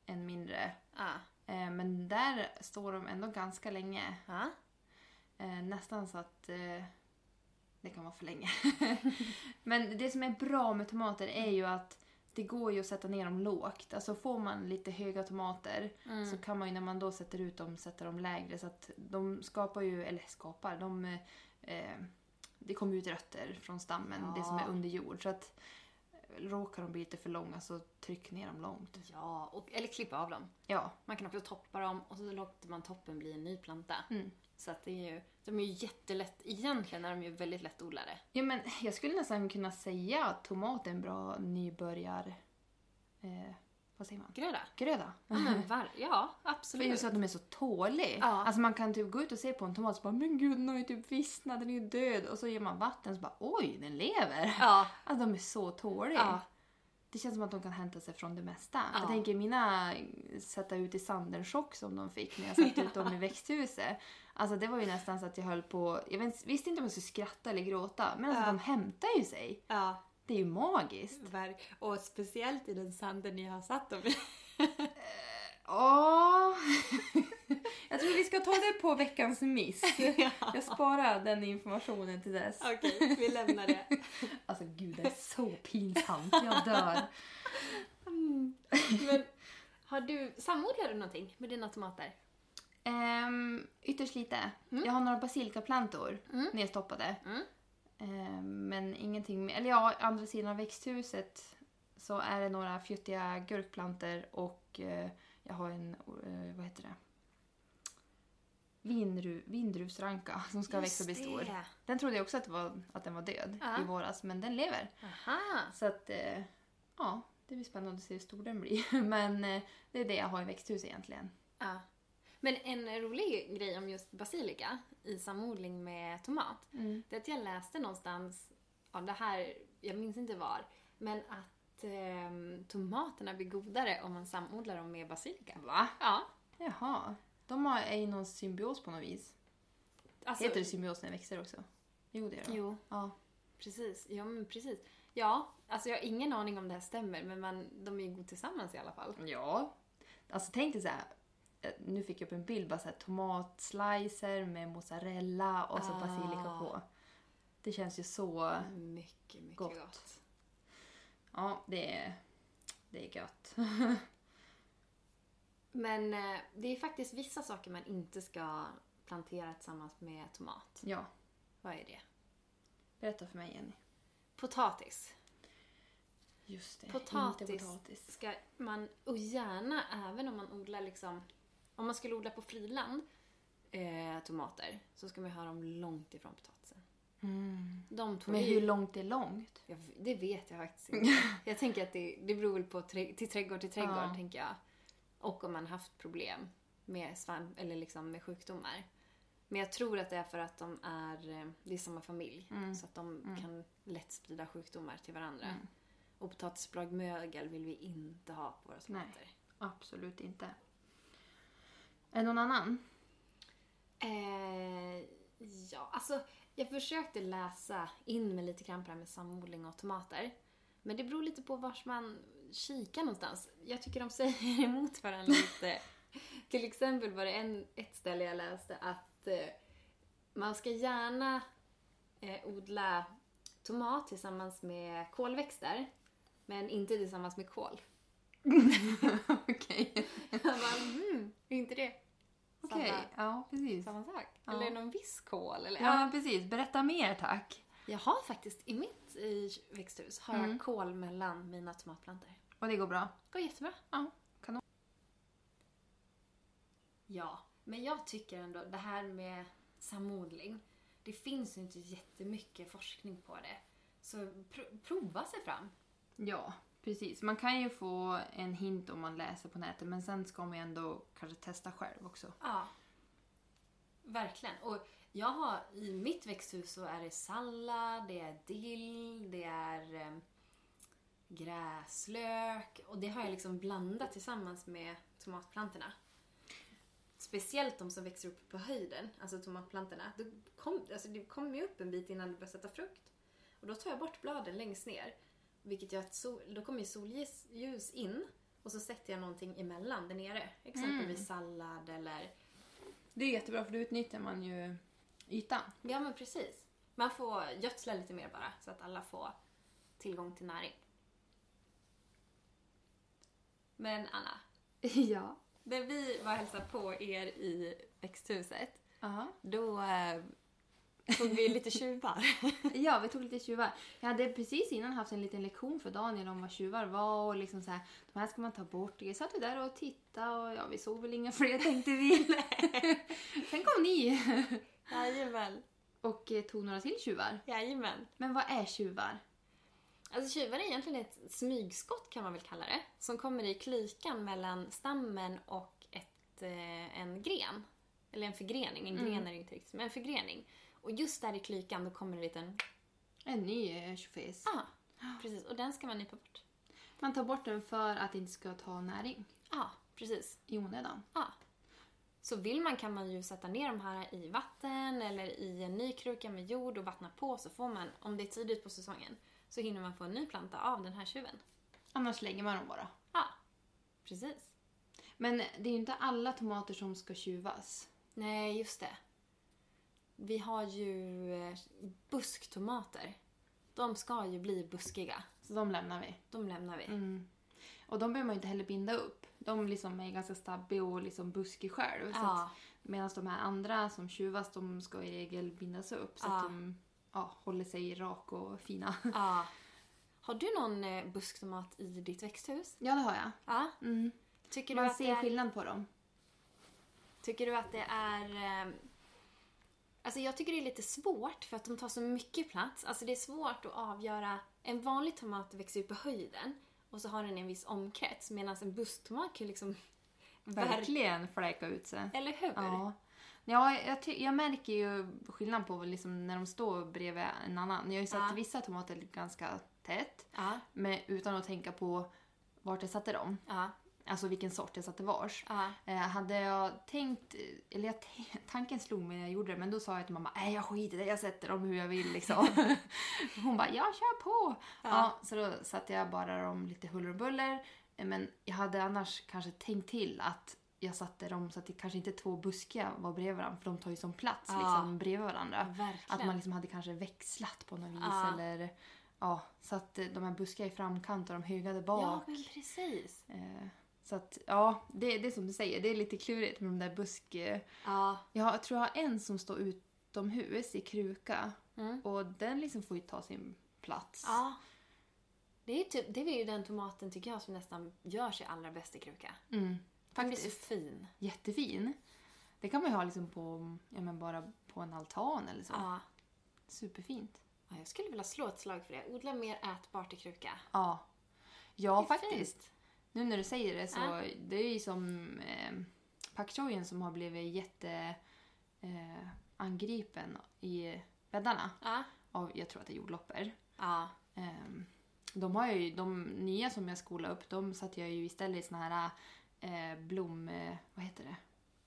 [SPEAKER 1] En mindre.
[SPEAKER 2] ah,
[SPEAKER 1] Eh, men där står de ändå ganska länge.
[SPEAKER 2] ah.
[SPEAKER 1] Eh, nästan så att eh, Det kan vara för länge. *laughs* Men det som är bra med tomater är ju att det går ju att sätta ner dem lågt. Alltså får man lite höga tomater
[SPEAKER 2] Mm.
[SPEAKER 1] så kan man ju när man då sätter ut dem sätta dem lägre. Så att de skapar ju, eller skapar, de... Eh, det kommer ut rötter från stammen, det som
[SPEAKER 2] Ja.
[SPEAKER 1] är under jord. Så att eh, råkar de bli lite för långa så tryck ner dem långt.
[SPEAKER 2] Ja, och, eller klippa av dem.
[SPEAKER 1] Ja,
[SPEAKER 2] Man kan också toppa dem och så låter man toppen bli en ny planta.
[SPEAKER 1] Mm.
[SPEAKER 2] Så att det är ju, de är ju jättelätt, egentligen är de ju väldigt lättodlade.
[SPEAKER 1] Ja, men jag skulle nästan kunna säga att tomat är en bra nybörjar... Eh, vad säger man?
[SPEAKER 2] Gröda?
[SPEAKER 1] Gröda.
[SPEAKER 2] *laughs* Ja, men var, ja
[SPEAKER 1] *laughs* För
[SPEAKER 2] absolut.
[SPEAKER 1] just att de är så tålig.
[SPEAKER 2] Mm. Ja.
[SPEAKER 1] Alltså man kan typ gå ut och se på en tomat och bara “men gud, den har ju typ vissnat, den är ju död” och så ger man vatten så bara “oj, den lever”.
[SPEAKER 2] Ja,
[SPEAKER 1] Alltså de är så tåliga.
[SPEAKER 2] ja.
[SPEAKER 1] Det känns som att de kan hämta sig från det mesta.
[SPEAKER 2] Ja.
[SPEAKER 1] Jag tänker mina sätta ut i sanden chock som de fick när jag satte ut
[SPEAKER 2] *laughs*
[SPEAKER 1] dem i växthuset. Alltså det var ju nästan så att jag höll på, jag vet, visste inte om jag skulle skratta eller gråta, men alltså
[SPEAKER 2] Ja.
[SPEAKER 1] de hämtar ju sig.
[SPEAKER 2] ja.
[SPEAKER 1] Det är ju magiskt.
[SPEAKER 2] Verk. Och speciellt i den sanden ni har satt dem i.
[SPEAKER 1] Ja. *laughs* jag tror vi ska ta det på veckans miss.
[SPEAKER 2] *laughs* ja.
[SPEAKER 1] Jag sparar den informationen till dess.
[SPEAKER 2] Okej, vi lämnar det. *laughs*
[SPEAKER 1] Alltså gud, det är så pinsamt. Jag dör.
[SPEAKER 2] Men har du, samodlar du någonting med dina tomater?
[SPEAKER 1] Ehm, ytterst lite. Jag har några basilikaplantor
[SPEAKER 2] Mm.
[SPEAKER 1] nedstoppade.
[SPEAKER 2] Mm.
[SPEAKER 1] Ehm, men ingenting mer. Eller ja, andra sidan av växthuset så är det några fjuttiga gurkplantor och eh, jag har en, eh, vad heter det? Vindru, vindruvsranka *laughs* som ska växa och bli stor. Den trodde jag också att, det var, att den var död
[SPEAKER 2] Ja.
[SPEAKER 1] i våras, men den lever.
[SPEAKER 2] Aha.
[SPEAKER 1] Så att, eh, ja, det blir spännande att se hur stor den blir. *laughs* Men eh, det är det jag har i växthus egentligen.
[SPEAKER 2] Ja. Men en rolig grej om just basilika i samodling med tomat. Det är att jag läste någonstans, ja det här, jag minns inte var, men att ehm, tomaterna blir godare om man samodlar dem med basilika.
[SPEAKER 1] Va?
[SPEAKER 2] Ja.
[SPEAKER 1] Jaha. De har, är i någon symbios på något vis.
[SPEAKER 2] Alltså,
[SPEAKER 1] Heter det symbios när det växer också? Jo, det gör det.
[SPEAKER 2] Jo,
[SPEAKER 1] Ja.
[SPEAKER 2] precis. Ja, men precis. Ja, alltså jag har ingen aning om det här stämmer, men man, de är ju goda tillsammans i alla fall.
[SPEAKER 1] ja. Alltså tänk dig så här. eh, Nu fick jag upp en bild, bara så här, tomatslicer med mozzarella och så
[SPEAKER 2] Ah.
[SPEAKER 1] basilika på. Det känns ju så...
[SPEAKER 2] Mycket, mycket
[SPEAKER 1] Mm. Gott.
[SPEAKER 2] gott.
[SPEAKER 1] Ja, det är, det är gött.
[SPEAKER 2] Men eh, det är faktiskt vissa saker man inte ska plantera tillsammans med tomat.
[SPEAKER 1] Ja,
[SPEAKER 2] Vad är det?
[SPEAKER 1] berätta för mig Jenny.
[SPEAKER 2] Potatis.
[SPEAKER 1] Just det,
[SPEAKER 2] Potatis.
[SPEAKER 1] inte potatis.
[SPEAKER 2] Ska man, och gärna även om man odlar liksom, om man skulle odla på friland eh, tomater så ska man ju ha dem långt ifrån potatisen. De två
[SPEAKER 1] Mm. Men
[SPEAKER 2] är
[SPEAKER 1] hur
[SPEAKER 2] ju-
[SPEAKER 1] långt är långt?
[SPEAKER 2] Jag, det vet jag faktiskt inte.
[SPEAKER 1] *laughs*
[SPEAKER 2] Jag tänker att det, det beror väl på trä, till trädgård till trädgård,
[SPEAKER 1] Ja.
[SPEAKER 2] tänker jag. Och om man haft problem med svamp eller liksom med sjukdomar. Men jag tror att det är för att de är, eh, det är samma familj.
[SPEAKER 1] Mm.
[SPEAKER 2] Så att de kan lätt sprida sjukdomar till varandra. Och potatisbladmögel vill vi inte ha på våra tomater.
[SPEAKER 1] Absolut inte. Är det någon annan? *laughs*
[SPEAKER 2] Eh, ja, alltså jag försökte läsa in mig lite grann på det här med samodling och tomater. Men det beror lite på vars man kikar någonstans. Jag tycker de *laughs* säger emot
[SPEAKER 1] *laughs*
[SPEAKER 2] varandra lite. Till exempel var det en, ett ställe jag läste att eh, man ska gärna eh, odla tomat tillsammans med kolväxter. Men inte tillsammans med *laughs* kål.
[SPEAKER 1] Okej.
[SPEAKER 2] Jag bara, mm, är inte det samma,
[SPEAKER 1] ja precis.
[SPEAKER 2] samma sak?
[SPEAKER 1] Ja.
[SPEAKER 2] Eller någon viss kål? Eller?
[SPEAKER 1] Ja men precis, berätta mer tack.
[SPEAKER 2] Jag har faktiskt i mitt i växthus har jag kål mellan mina tomatplantor.
[SPEAKER 1] Och det går bra?
[SPEAKER 2] Går jättebra.
[SPEAKER 1] Ja. Kanon.
[SPEAKER 2] Ja, men jag tycker ändå det här med samodling. Det finns ju inte jättemycket forskning på det. Så pr- prova sig fram.
[SPEAKER 1] Ja, precis. Man kan ju få en hint om man läser på nätet men sen ska man ju ändå kanske testa själv också.
[SPEAKER 2] Ja. Verkligen. Och jag har, i mitt växthus så är det sallad, det är dill, det är eh, gräslök och det har jag liksom blandat tillsammans med tomatplantorna. Speciellt de som växer upp på höjden, alltså tomatplantorna. Det kom- alltså det kommer ju upp en bit innan det börjar sätta frukt. Och då tar jag bort bladen längst ner. Vilket gör att sol, då kommer ju solljus ljus in och så sätter jag någonting emellan där nere. Exempelvis sallad eller
[SPEAKER 1] Det är jättebra för då utnyttjar man ju ytan.
[SPEAKER 2] Ja men precis. Man får gödsla lite mer bara så att alla får tillgång till näring. Men Anna,
[SPEAKER 1] *laughs* Ja.
[SPEAKER 2] när vi var och hälsade på er i växthuset,
[SPEAKER 1] Aha.
[SPEAKER 2] då eh, tog vi lite tjuvar.
[SPEAKER 1] Ja, vi tog lite tjuvar. Jag hade precis innan haft en liten lektion för Daniel om vad tjuvar var och liksom så här, de här ska man ta bort. Så satt vi där och tittade och ja, vi såg väl inga fler tänkte vi. Sen kom ni
[SPEAKER 2] Jajamän.
[SPEAKER 1] och eh, tog några till tjuvar.
[SPEAKER 2] Jajamän.
[SPEAKER 1] Men vad är tjuvar?
[SPEAKER 2] Alltså tjuvar är egentligen ett smygskott kan man väl kalla det, som kommer i klykan mellan stammen och ett, eh, en gren. Eller en förgrening, en gren är det inte riktigt, men en förgrening. Och just där i klykan då kommer en liten...
[SPEAKER 1] En ny eh, tjofis.
[SPEAKER 2] Ah, precis. Och den ska man nypa bort.
[SPEAKER 1] Man tar bort den för att det inte ska ta näring
[SPEAKER 2] Ja, precis.
[SPEAKER 1] i onödan.
[SPEAKER 2] Ja. Så vill man kan man ju sätta ner de här i vatten eller i en ny kruka med jord och vattna på så får man, om det är tidigt på säsongen, så hinner man få en ny planta av den här tjuven.
[SPEAKER 1] Annars slänger man dem bara.
[SPEAKER 2] Ja, precis.
[SPEAKER 1] Men det är ju inte alla tomater som ska tjuvas.
[SPEAKER 2] Nej, just det. Vi har ju eh, busktomater. De ska ju bli buskiga.
[SPEAKER 1] Så de lämnar vi.
[SPEAKER 2] De lämnar vi.
[SPEAKER 1] Mm. Och de behöver man ju inte heller binda upp. De liksom är ganska stabbiga och liksom buskig själv. så att-
[SPEAKER 2] Ja,
[SPEAKER 1] Medan de här andra som tjuvas, de ska i regel bindas upp så
[SPEAKER 2] Ja.
[SPEAKER 1] att de ja, håller sig rak och fina. *laughs*
[SPEAKER 2] ja. Har du någon eh, busktomat i ditt växthus?
[SPEAKER 1] Ja, det har jag.
[SPEAKER 2] Ja.
[SPEAKER 1] Mm.
[SPEAKER 2] Tycker, du
[SPEAKER 1] Man
[SPEAKER 2] att det
[SPEAKER 1] ser
[SPEAKER 2] är,
[SPEAKER 1] skillnad på dem.
[SPEAKER 2] tycker du att det är... eh, Alltså jag tycker det är lite svårt för att de tar så mycket plats. Alltså det är svårt att avgöra. En vanlig tomat växer ju på höjden och så har den en viss omkrets medan en busktomat kan ju liksom...
[SPEAKER 1] Verkligen fläka ut sig.
[SPEAKER 2] Eller hur?
[SPEAKER 1] Ja. Ja, jag, ty- jag märker ju skillnad på liksom när de står bredvid en annan. Jag har ju satt
[SPEAKER 2] Ja.
[SPEAKER 1] vissa tomater ganska tätt,
[SPEAKER 2] Ja.
[SPEAKER 1] men utan att tänka på vart jag satte dem.
[SPEAKER 2] Ja.
[SPEAKER 1] Alltså vilken sort jag satte vars.
[SPEAKER 2] Ja.
[SPEAKER 1] Eh, hade jag tänkt, eller jag t- *laughs* tanken slog mig när jag gjorde det, men då sa jag till mamma nej jag skiter i det, jag sätter dem hur jag vill liksom. Hon bara, jag kör på! Ja. så då satte jag bara dem lite huller och buller. Eh, Men jag hade annars kanske tänkt till att jag satte dem så att det kanske inte två buskiga var bredvid varandra, för de tar ju som plats
[SPEAKER 2] Ja.
[SPEAKER 1] liksom bredvid varandra.
[SPEAKER 2] Verkligen.
[SPEAKER 1] Att man liksom hade kanske växlat på något vis
[SPEAKER 2] Ja.
[SPEAKER 1] eller ja, så att eh, de här buskiga i framkant och de höga där bak.
[SPEAKER 2] Ja, men precis.
[SPEAKER 1] Eh, Så att, ja, det, det är som du säger, det är lite klurigt med de där busk... eh,
[SPEAKER 2] Ja.
[SPEAKER 1] Jag har- tror jag har en som står utomhus i kruka
[SPEAKER 2] Mm.
[SPEAKER 1] och den liksom får ju ta sin plats.
[SPEAKER 2] ja. Det, är typ, det är ju den tomaten tycker jag som nästan gör sig allra bäst i kruka.
[SPEAKER 1] Mm,
[SPEAKER 2] Den blir så
[SPEAKER 1] faktiskt.
[SPEAKER 2] fin.
[SPEAKER 1] Jättefin. Det kan man ju ha liksom på, ja men bara på en altan eller så.
[SPEAKER 2] Ja.
[SPEAKER 1] Superfint.
[SPEAKER 2] ja. Jag skulle vilja slå ett slag för det. Odla mer ätbart i kruka.
[SPEAKER 1] Ja. Ja,
[SPEAKER 2] Det är fint.
[SPEAKER 1] faktiskt. Nu när du säger det så,
[SPEAKER 2] Ja.
[SPEAKER 1] det är ju som eh, pak choyen som har blivit jätte eh, angripen i bäddarna
[SPEAKER 2] Ja.
[SPEAKER 1] av, jag tror att det är jordloppor.
[SPEAKER 2] Ja.
[SPEAKER 1] Ehm, de, har jag ju, de nya som jag skolade upp, de satte jag ju istället i såna här eh, blom... Eh, vad heter det?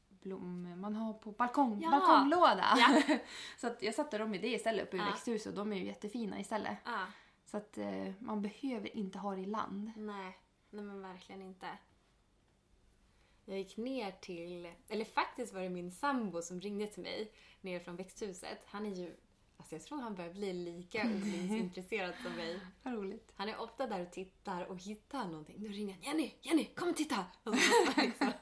[SPEAKER 1] Blom... Man har på balkong,
[SPEAKER 2] Ja.
[SPEAKER 1] balkonglåda.
[SPEAKER 2] Ja.
[SPEAKER 1] *laughs* så att jag satte dem i det istället uppe i
[SPEAKER 2] Ja.
[SPEAKER 1] växthuset och de är ju jättefina istället.
[SPEAKER 2] ja.
[SPEAKER 1] Så att eh, man behöver inte ha det i land.
[SPEAKER 2] Nej. Nej, men verkligen inte. Jag gick ner till, eller faktiskt var det min sambo som ringde till mig ner från växthuset. Han är ju, alltså jag tror han börjar bli lika
[SPEAKER 1] *laughs*
[SPEAKER 2] odlingsintresserad som mig.
[SPEAKER 1] Vad roligt.
[SPEAKER 2] Han är ofta där och tittar och hittar någonting. Då ringer han Jenny, Jenny, kom och titta! *laughs* Och så måste man liksom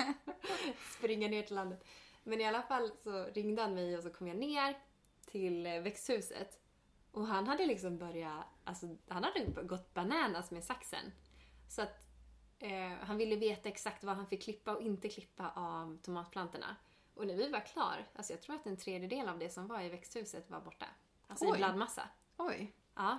[SPEAKER 2] springa ner till landet. Men i alla fall så ringde han mig och så kom jag ner till eh, växthuset. Och han hade liksom börjat, alltså han hade gått bananas med saxen. Så att eh, han ville veta exakt vad han fick klippa och inte klippa av tomatplantorna. Och när vi var klar, alltså jag tror att en tredjedel av det som var i växthuset var borta. Alltså
[SPEAKER 1] Oj.
[SPEAKER 2] i blandmassa.
[SPEAKER 1] Oj.
[SPEAKER 2] Ja,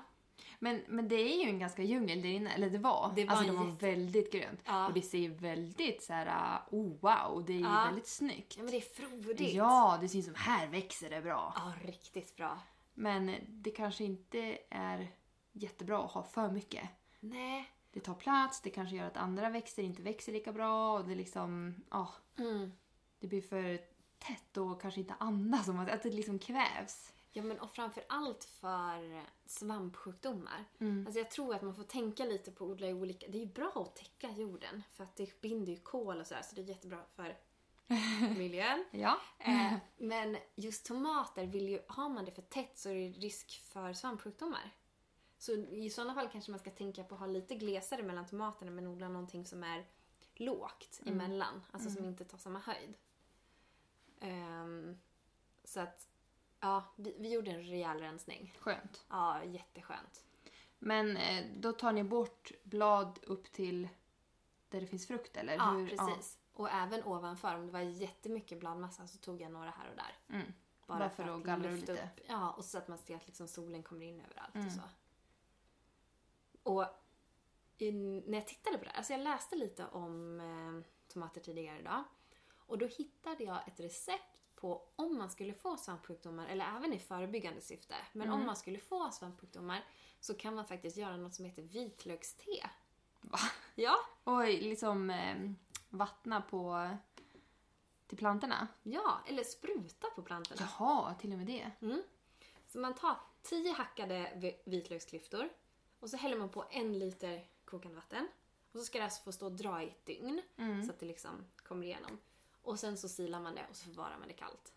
[SPEAKER 1] Men, men det är ju en ganska djungel där inne, eller det var.
[SPEAKER 2] Det var
[SPEAKER 1] alltså det
[SPEAKER 2] en
[SPEAKER 1] var
[SPEAKER 2] jätte-
[SPEAKER 1] väldigt grönt.
[SPEAKER 2] Ja.
[SPEAKER 1] Och det ser ju väldigt så här, uh, oh, wow, det är ju
[SPEAKER 2] Ja.
[SPEAKER 1] väldigt snyggt.
[SPEAKER 2] ja men det är frodigt.
[SPEAKER 1] Ja, det syns som här växer det bra.
[SPEAKER 2] Ja, riktigt bra.
[SPEAKER 1] Men det kanske inte är jättebra att ha för mycket.
[SPEAKER 2] Nej.
[SPEAKER 1] Det tar plats, det kanske gör att andra växter inte växer lika bra och det liksom, ja,
[SPEAKER 2] Mm.
[SPEAKER 1] det blir för tätt och kanske inte andas, om man- att det liksom kvävs.
[SPEAKER 2] Ja, men och framför allt för svampsjukdomar.
[SPEAKER 1] Mm.
[SPEAKER 2] Alltså jag tror att man får tänka lite på att odla i olika... Det är ju bra att täcka jorden för att det binder ju kol och sådär så det är jättebra för miljön.
[SPEAKER 1] Ja. *laughs*
[SPEAKER 2] Eh, men just tomater, vill ju, har man det för tätt så är det risk för svampsjukdomar. Så i sådana fall kanske man ska tänka på att ha lite glesare mellan tomaterna men odla någonting som är lågt
[SPEAKER 1] Mm.
[SPEAKER 2] emellan, alltså som inte tar samma höjd. Ehm, så att, ja, vi, vi gjorde en rejäl rensning.
[SPEAKER 1] Skönt.
[SPEAKER 2] Ja, jätteskönt.
[SPEAKER 1] Men eh, då tar ni bort blad upp till där det finns frukt eller?
[SPEAKER 2] Ja,
[SPEAKER 1] Hur-
[SPEAKER 2] precis. Och även ovanför, om det var jättemycket bladmassa så tog jag några här och där.
[SPEAKER 1] Mm. Bara för att gallra ut lite.
[SPEAKER 2] upp. Ja, och så att man ser att liksom solen kommer in överallt
[SPEAKER 1] Mm.
[SPEAKER 2] och så. Och i, när jag tittade på det här, alltså jag läste lite om eh, tomater tidigare idag. Och då hittade jag ett recept på om man skulle få svampsjukdomar, eller även i förebyggande syfte, men
[SPEAKER 1] Mm.
[SPEAKER 2] om man skulle få svampsjukdomar så kan man faktiskt göra något som heter vitlökste.
[SPEAKER 1] Va?
[SPEAKER 2] Ja,
[SPEAKER 1] Och liksom eh, vattna på till plantorna?
[SPEAKER 2] ja, eller spruta på plantorna.
[SPEAKER 1] Jaha, till och med det.
[SPEAKER 2] Så man tar 10 hackade vi- vitlöksklyftor och så häller man på en liter kokande vatten. Och så ska det alltså få stå och dra i ett dygn
[SPEAKER 1] Mm.
[SPEAKER 2] så att det liksom kommer igenom. Och sen så silar man det och så förvarar man det kallt.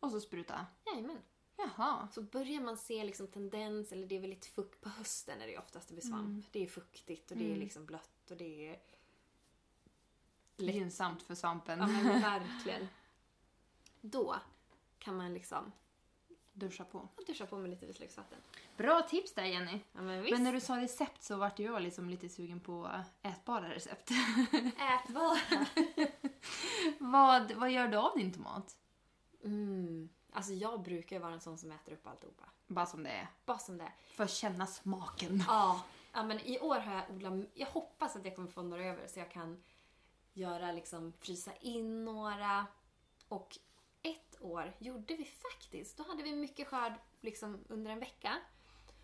[SPEAKER 1] Och så spruta.
[SPEAKER 2] Jajamän.
[SPEAKER 1] Jaha.
[SPEAKER 2] Så börjar man se liksom tendens, eller det är väl lite fukt på hösten när det är oftast det blir svamp. Det är fuktigt och det är liksom blött och det *laughs* är... Lätt.
[SPEAKER 1] Gynnsamt för svampen.
[SPEAKER 2] Ja men verkligen. Då kan man liksom
[SPEAKER 1] Duscha på.
[SPEAKER 2] duscha på med lite vitlöksvatten.
[SPEAKER 1] Bra tips där Jenny.
[SPEAKER 2] Ja men visst.
[SPEAKER 1] Men när du sa recept så vart ju jag liksom lite sugen på ätbara recept.
[SPEAKER 2] Ätbara.
[SPEAKER 1] *laughs* vad, vad gör du av din tomat?
[SPEAKER 2] Mm. Alltså jag brukar ju vara en sån som äter upp alltihopa.
[SPEAKER 1] Bara som det är.
[SPEAKER 2] Bara som det är.
[SPEAKER 1] För att känna smaken.
[SPEAKER 2] Ja. ja, men i år har jag odlat... Jag hoppas att jag kommer få några över så jag kan göra liksom frysa in några. Och ett år gjorde vi faktiskt. Då hade vi mycket skörd liksom under en vecka.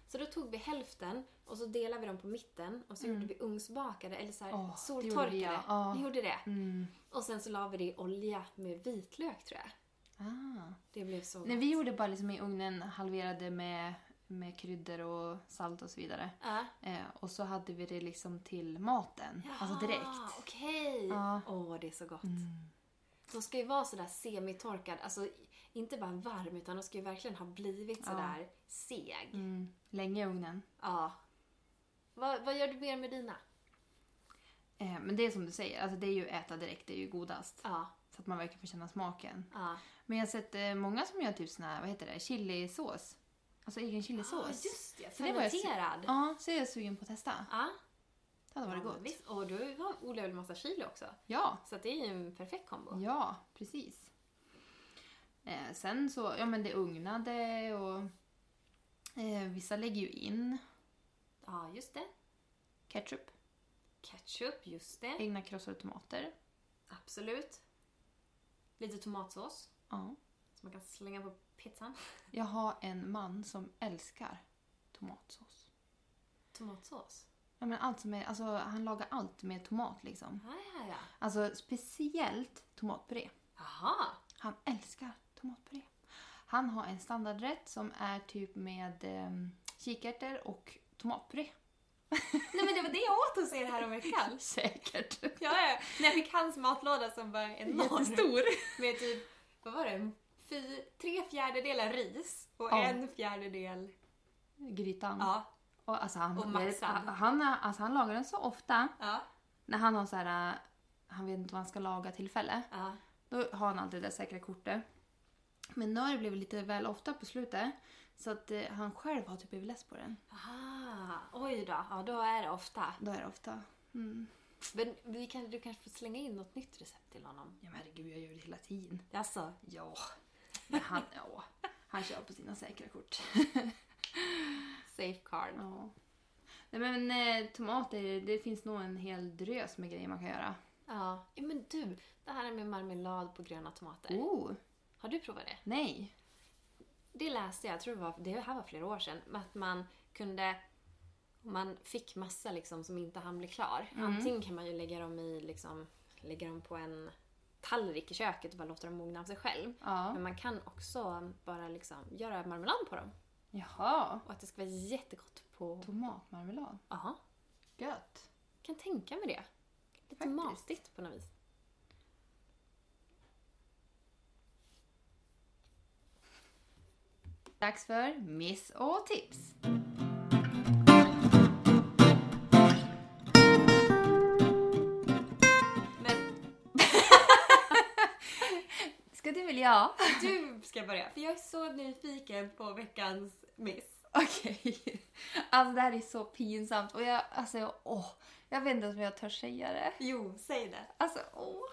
[SPEAKER 2] Så då tog vi hälften och så delade vi dem på mitten och så gjorde vi ugnsbakade eller så här
[SPEAKER 1] Mm. Åh, det gjorde vi,
[SPEAKER 2] soltorkade.
[SPEAKER 1] ja. Ja.
[SPEAKER 2] Vi gjorde det.
[SPEAKER 1] Mm.
[SPEAKER 2] Och sen så la vi det i olja med vitlök tror jag.
[SPEAKER 1] Ah.
[SPEAKER 2] Det blev så
[SPEAKER 1] Nej, vi gjorde bara liksom i ugnen, halverade med, med kryddor och salt och så vidare.
[SPEAKER 2] Ja.
[SPEAKER 1] Eh, och så hade vi det liksom till maten. Alltså
[SPEAKER 2] Jaha,
[SPEAKER 1] direkt.
[SPEAKER 2] Ah, Okej.
[SPEAKER 1] Ja. Mm.
[SPEAKER 2] Åh, det är så gott. De ska ju vara sådär semitorkad, alltså inte bara varm utan de ska ju verkligen ha blivit sådär seg.
[SPEAKER 1] Mm. Länge i ugnen.
[SPEAKER 2] Ja. Vad, vad gör du mer med dina?
[SPEAKER 1] Eh, men det är som du säger, alltså det är ju äta direkt, det är ju godast.
[SPEAKER 2] Ja.
[SPEAKER 1] Så att man verkligen får känna smaken.
[SPEAKER 2] ja.
[SPEAKER 1] Men jag har sett eh, många som gör typ sån här, vad heter det, chilisås. Alltså egen chilisås.
[SPEAKER 2] Ah, just det,
[SPEAKER 1] Så det var jag su-
[SPEAKER 2] fermenterad.
[SPEAKER 1] Ja, så är jag sugen på att testa.
[SPEAKER 2] Ja.
[SPEAKER 1] Det hade varit
[SPEAKER 2] Ja,
[SPEAKER 1] gott.
[SPEAKER 2] visst. Och du har- odlar väl massa kilo också?
[SPEAKER 1] Ja,
[SPEAKER 2] Så att det är ju en perfekt kombo.
[SPEAKER 1] ja, precis. Eh, sen så, ja men det ugnade och eh, vissa lägger ju in
[SPEAKER 2] Ja, just det.
[SPEAKER 1] ketchup,
[SPEAKER 2] Ketchup, just det.
[SPEAKER 1] egna krossade tomater.
[SPEAKER 2] Absolut. Lite tomatsås
[SPEAKER 1] Ja.
[SPEAKER 2] som man kan slänga på pizzan.
[SPEAKER 1] Jag har en man som älskar tomatsås.
[SPEAKER 2] Tomatsås.
[SPEAKER 1] Ja, men allt som är, alltså, han lagar allt med tomat liksom.
[SPEAKER 2] Ja, ja, ja.
[SPEAKER 1] Alltså speciellt tomatpuré.
[SPEAKER 2] Jaha.
[SPEAKER 1] Han älskar tomatpuré. Han har en standardrätt som är typ med eh, kikärtor och tomatpuré. *laughs*
[SPEAKER 2] Nej men det var det jag åt hos er häromveckan.
[SPEAKER 1] Säkert.
[SPEAKER 2] Ja, ja. När jag fick hans matlåda som var enorm.
[SPEAKER 1] Jättestor.
[SPEAKER 2] Med typ, vad var det? Fy, tre fjärdedelar ris och
[SPEAKER 1] Ja.
[SPEAKER 2] en fjärdedel...
[SPEAKER 1] Grytan.
[SPEAKER 2] Ja.
[SPEAKER 1] Och, alltså, han,
[SPEAKER 2] Och maxad.
[SPEAKER 1] han, alltså, han lagar den så ofta
[SPEAKER 2] Ja.
[SPEAKER 1] när han har så här, eh, han vet inte vad han ska laga tillfälle.
[SPEAKER 2] Ja.
[SPEAKER 1] Då har han alltid det där säkra kortet. Men nu har det blivit lite väl ofta på slutet. Så att eh, han själv har typ blivit less på den.
[SPEAKER 2] Aha. Oj då. Ja, då är det ofta.
[SPEAKER 1] Då är det ofta. Mm.
[SPEAKER 2] Men vi kan, du kanske får slänga in något nytt recept till honom?
[SPEAKER 1] Ja men herregud, jag gör det hela tiden.
[SPEAKER 2] Jaså?
[SPEAKER 1] Ja. Men han, ja. Han kör på sina säkra kort.
[SPEAKER 2] Safe card.
[SPEAKER 1] Ja. Nej men eh, tomater, det finns nog en hel drös med grejer man kan göra.
[SPEAKER 2] Ja. ja. Men du, det här med marmelad på gröna tomater.
[SPEAKER 1] Oh,
[SPEAKER 2] Har du provat det?
[SPEAKER 1] nej.
[SPEAKER 2] Det läste jag, jag tror det, var, det här var flera år sedan, men att man kunde man fick massa liksom som inte hann bli klar. Antingen kan man ju lägga dem, i, liksom, lägga dem på en tallrik i köket och bara låta dem mogna av sig själv.
[SPEAKER 1] Ja.
[SPEAKER 2] Men man kan också bara liksom göra marmelad på dem.
[SPEAKER 1] Jaha.
[SPEAKER 2] Och att det ska vara jättegott på...
[SPEAKER 1] Tomatmarmelad.
[SPEAKER 2] Ja,
[SPEAKER 1] Gött.
[SPEAKER 2] kan tänka mig det. Lite
[SPEAKER 1] Faktiskt.
[SPEAKER 2] matigt på något vis.
[SPEAKER 1] Dags för miss och tips.
[SPEAKER 2] Men
[SPEAKER 1] Ska du vilja? Ja.
[SPEAKER 2] du ska börja, för jag är så nyfiken på veckans miss.
[SPEAKER 1] Okej. Alltså det här är så pinsamt och jag, alltså jag, åh, jag vet inte om jag törs säga det.
[SPEAKER 2] Jo, säg det.
[SPEAKER 1] Alltså åh.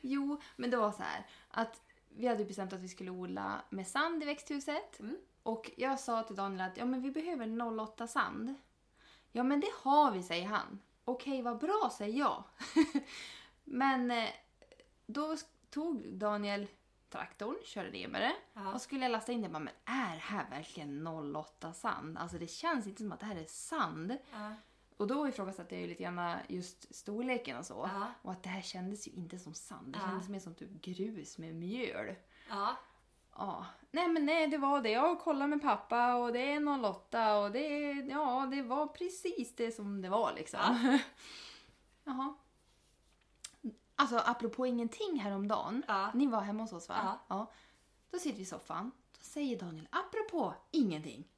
[SPEAKER 1] Jo, men det var så här att vi hade bestämt att vi skulle odla med sand i växthuset.
[SPEAKER 2] Mm.
[SPEAKER 1] Och jag sa till Daniel att ja, men vi behöver 08 sand. Ja men det har vi, säger han. Okej, vad bra, säger jag. *laughs* men eh, då tog Daniel traktorn, körde ner med det.
[SPEAKER 2] Ja.
[SPEAKER 1] Och skulle jag lasta in det, jag bara, men är det här verkligen 08 sand? Alltså det känns inte som att det här är sand.
[SPEAKER 2] Ja.
[SPEAKER 1] Och då ifrågasatte jag ju lite grann just storleken och så.
[SPEAKER 2] Ja.
[SPEAKER 1] Och att det här kändes ju inte som sand. Det
[SPEAKER 2] Ja.
[SPEAKER 1] kändes mer som typ grus med mjöl.
[SPEAKER 2] ja.
[SPEAKER 1] Ja. Nej men nej, det var det. Jag kollade med pappa och det är 08 och det är... Ja, det var precis det som det var liksom. *laughs* Jaha. Alltså apropå ingenting häromdagen.
[SPEAKER 2] Ja.
[SPEAKER 1] Ni var hemma hos oss va?
[SPEAKER 2] Ja.
[SPEAKER 1] Då sitter vi i soffan. Då säger Daniel apropå ingenting.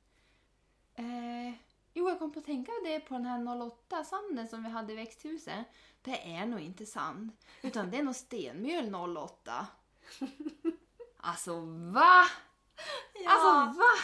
[SPEAKER 1] Eh, jo, jag kom på att tänka det på den här 08 sanden som vi hade i växthuset. Det är nog inte sand, utan det är nog stenmjöl 08. Alltså va? Alltså va?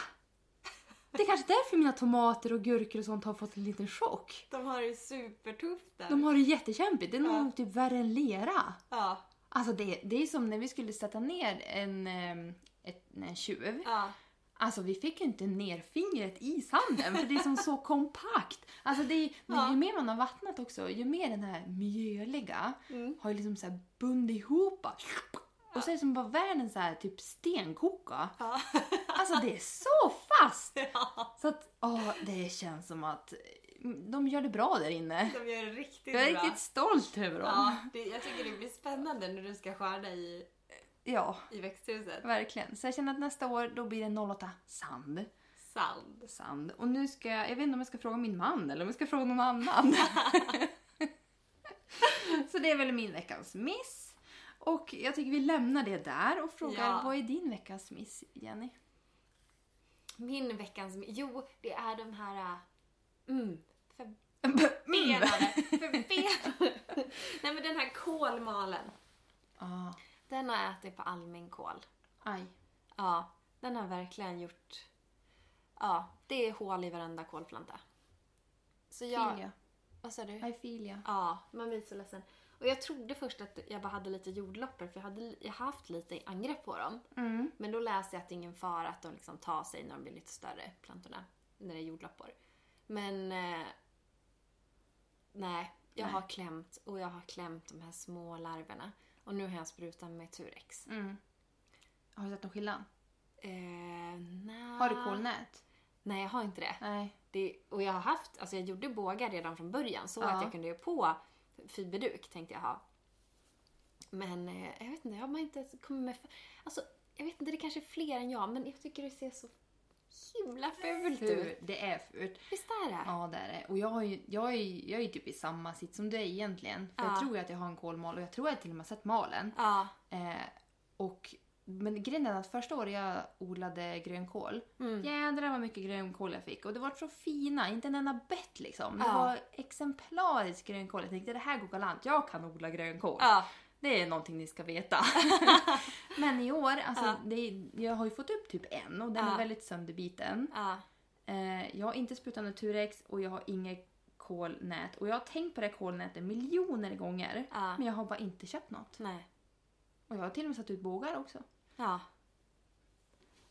[SPEAKER 1] Det är kanske därför mina tomater och gurkor och sånt har fått en liten chock.
[SPEAKER 2] de har det supertufft där.
[SPEAKER 1] De har det jättekämpigt. Det är nog
[SPEAKER 2] Ja.
[SPEAKER 1] typ värre än lera.
[SPEAKER 2] Ja.
[SPEAKER 1] Alltså det, det är som när vi skulle sätta ner en, eh, ett, en tjuv.
[SPEAKER 2] Ja.
[SPEAKER 1] Alltså vi fick ju inte ner fingret i sanden för det är som så kompakt. Alltså det är, men
[SPEAKER 2] Ja.
[SPEAKER 1] ju mer man har vattnat också, ju mer den här mjöliga
[SPEAKER 2] Mm.
[SPEAKER 1] har ju liksom så här bundit ihop. bara. Och så är det som bara världens så här typ stenkoka.
[SPEAKER 2] *laughs* Ja.
[SPEAKER 1] Alltså det är så fast!
[SPEAKER 2] *laughs* ja.
[SPEAKER 1] Så att, åh, det känns som att mm, de gör det bra där inne.
[SPEAKER 2] De gör det riktigt
[SPEAKER 1] Jag är
[SPEAKER 2] bra.
[SPEAKER 1] riktigt stolt över dem. Ja,
[SPEAKER 2] Ja, det, jag tycker det blir spännande när du ska skörda i, i växthuset.
[SPEAKER 1] verkligen. Så jag känner att nästa år då blir det 08 sand.
[SPEAKER 2] Sand.
[SPEAKER 1] Sand. Och nu ska jag, jag vet inte om jag ska fråga min man eller om jag ska fråga någon annan. *laughs* så det är väl min veckans miss. Och jag tycker vi lämnar det där och frågar
[SPEAKER 2] Ja.
[SPEAKER 1] vad är din veckas miss,
[SPEAKER 2] *laughs*
[SPEAKER 1] Jenny?
[SPEAKER 2] Min veckans... Jo, det är de här... äh, Mm.
[SPEAKER 1] Mm.
[SPEAKER 2] Förbenade. *laughs* Förbenade. Nej men den här kolmalen.
[SPEAKER 1] Ah,
[SPEAKER 2] Den har jag ätit på allmänkål.
[SPEAKER 1] aj.
[SPEAKER 2] Ja, den har verkligen gjort... Ja, det är hål i varenda kålplanta. Så jag...
[SPEAKER 1] Filia.
[SPEAKER 2] Vad sa du?
[SPEAKER 1] Aj, filia.
[SPEAKER 2] Ja, man blir så ledsen. Och jag trodde först att jag bara hade lite jordloppor för jag hade jag har haft lite angrepp på dem.
[SPEAKER 1] Mm.
[SPEAKER 2] Men då läste jag att det är ingen fara att de liksom tar sig när de blir lite större, plantorna. När det är jordloppor. Men... Eh, nej, jag
[SPEAKER 1] Nej.
[SPEAKER 2] har klämt och jag har klämt de här små larverna. Och nu har jag sprutat med Turex.
[SPEAKER 1] Mm. Har du sett någon skillnad?
[SPEAKER 2] Eh, nej.
[SPEAKER 1] Har du kolnät?
[SPEAKER 2] Nej, jag har inte det.
[SPEAKER 1] Nej.
[SPEAKER 2] det. Och jag har haft, alltså jag gjorde bågar redan från början. Så
[SPEAKER 1] Ja.
[SPEAKER 2] att jag kunde göra på fiberduk tänkte jag ha. Men eh, jag vet inte, jag har man inte ens kommit med... Alltså, jag vet inte, det kanske är fler än jag, men jag tycker det ser så himla fult ut.
[SPEAKER 1] Fult. Det är fult.
[SPEAKER 2] Visst är det?
[SPEAKER 1] Ja, det är det. Och jag, har ju, jag, är, ju- jag är ju typ i samma sitt som du är egentligen. För
[SPEAKER 2] Ja.
[SPEAKER 1] jag tror ju att jag har en kolmal och jag tror att jag till och med har sett malen.
[SPEAKER 2] Ja.
[SPEAKER 1] Eh, och, men grejen är att första året jag odlade grönkål,
[SPEAKER 2] Mm.
[SPEAKER 1] jädrar vad mycket grönkål jag fick. Och det var så fina, inte en enda bett liksom. Det
[SPEAKER 2] Ja.
[SPEAKER 1] var exemplariskt grönkål. Jag tänkte det här går galant, jag kan odla grönkål.
[SPEAKER 2] ja.
[SPEAKER 1] Det är någonting ni ska
[SPEAKER 2] *laughs*
[SPEAKER 1] veta. men i år, alltså,
[SPEAKER 2] Ja.
[SPEAKER 1] det, jag har ju fått upp typ en och den
[SPEAKER 2] Ja.
[SPEAKER 1] är väldigt sönderbiten.
[SPEAKER 2] Ja.
[SPEAKER 1] Eh, jag har inte sprutat Naturex och jag har inget kolnät. Och jag har tänkt på det här kolnätet miljoner gånger.
[SPEAKER 2] Ja.
[SPEAKER 1] Men jag har bara inte köpt något.
[SPEAKER 2] Nej.
[SPEAKER 1] Och jag har till och med satt ut bågar också.
[SPEAKER 2] Ja.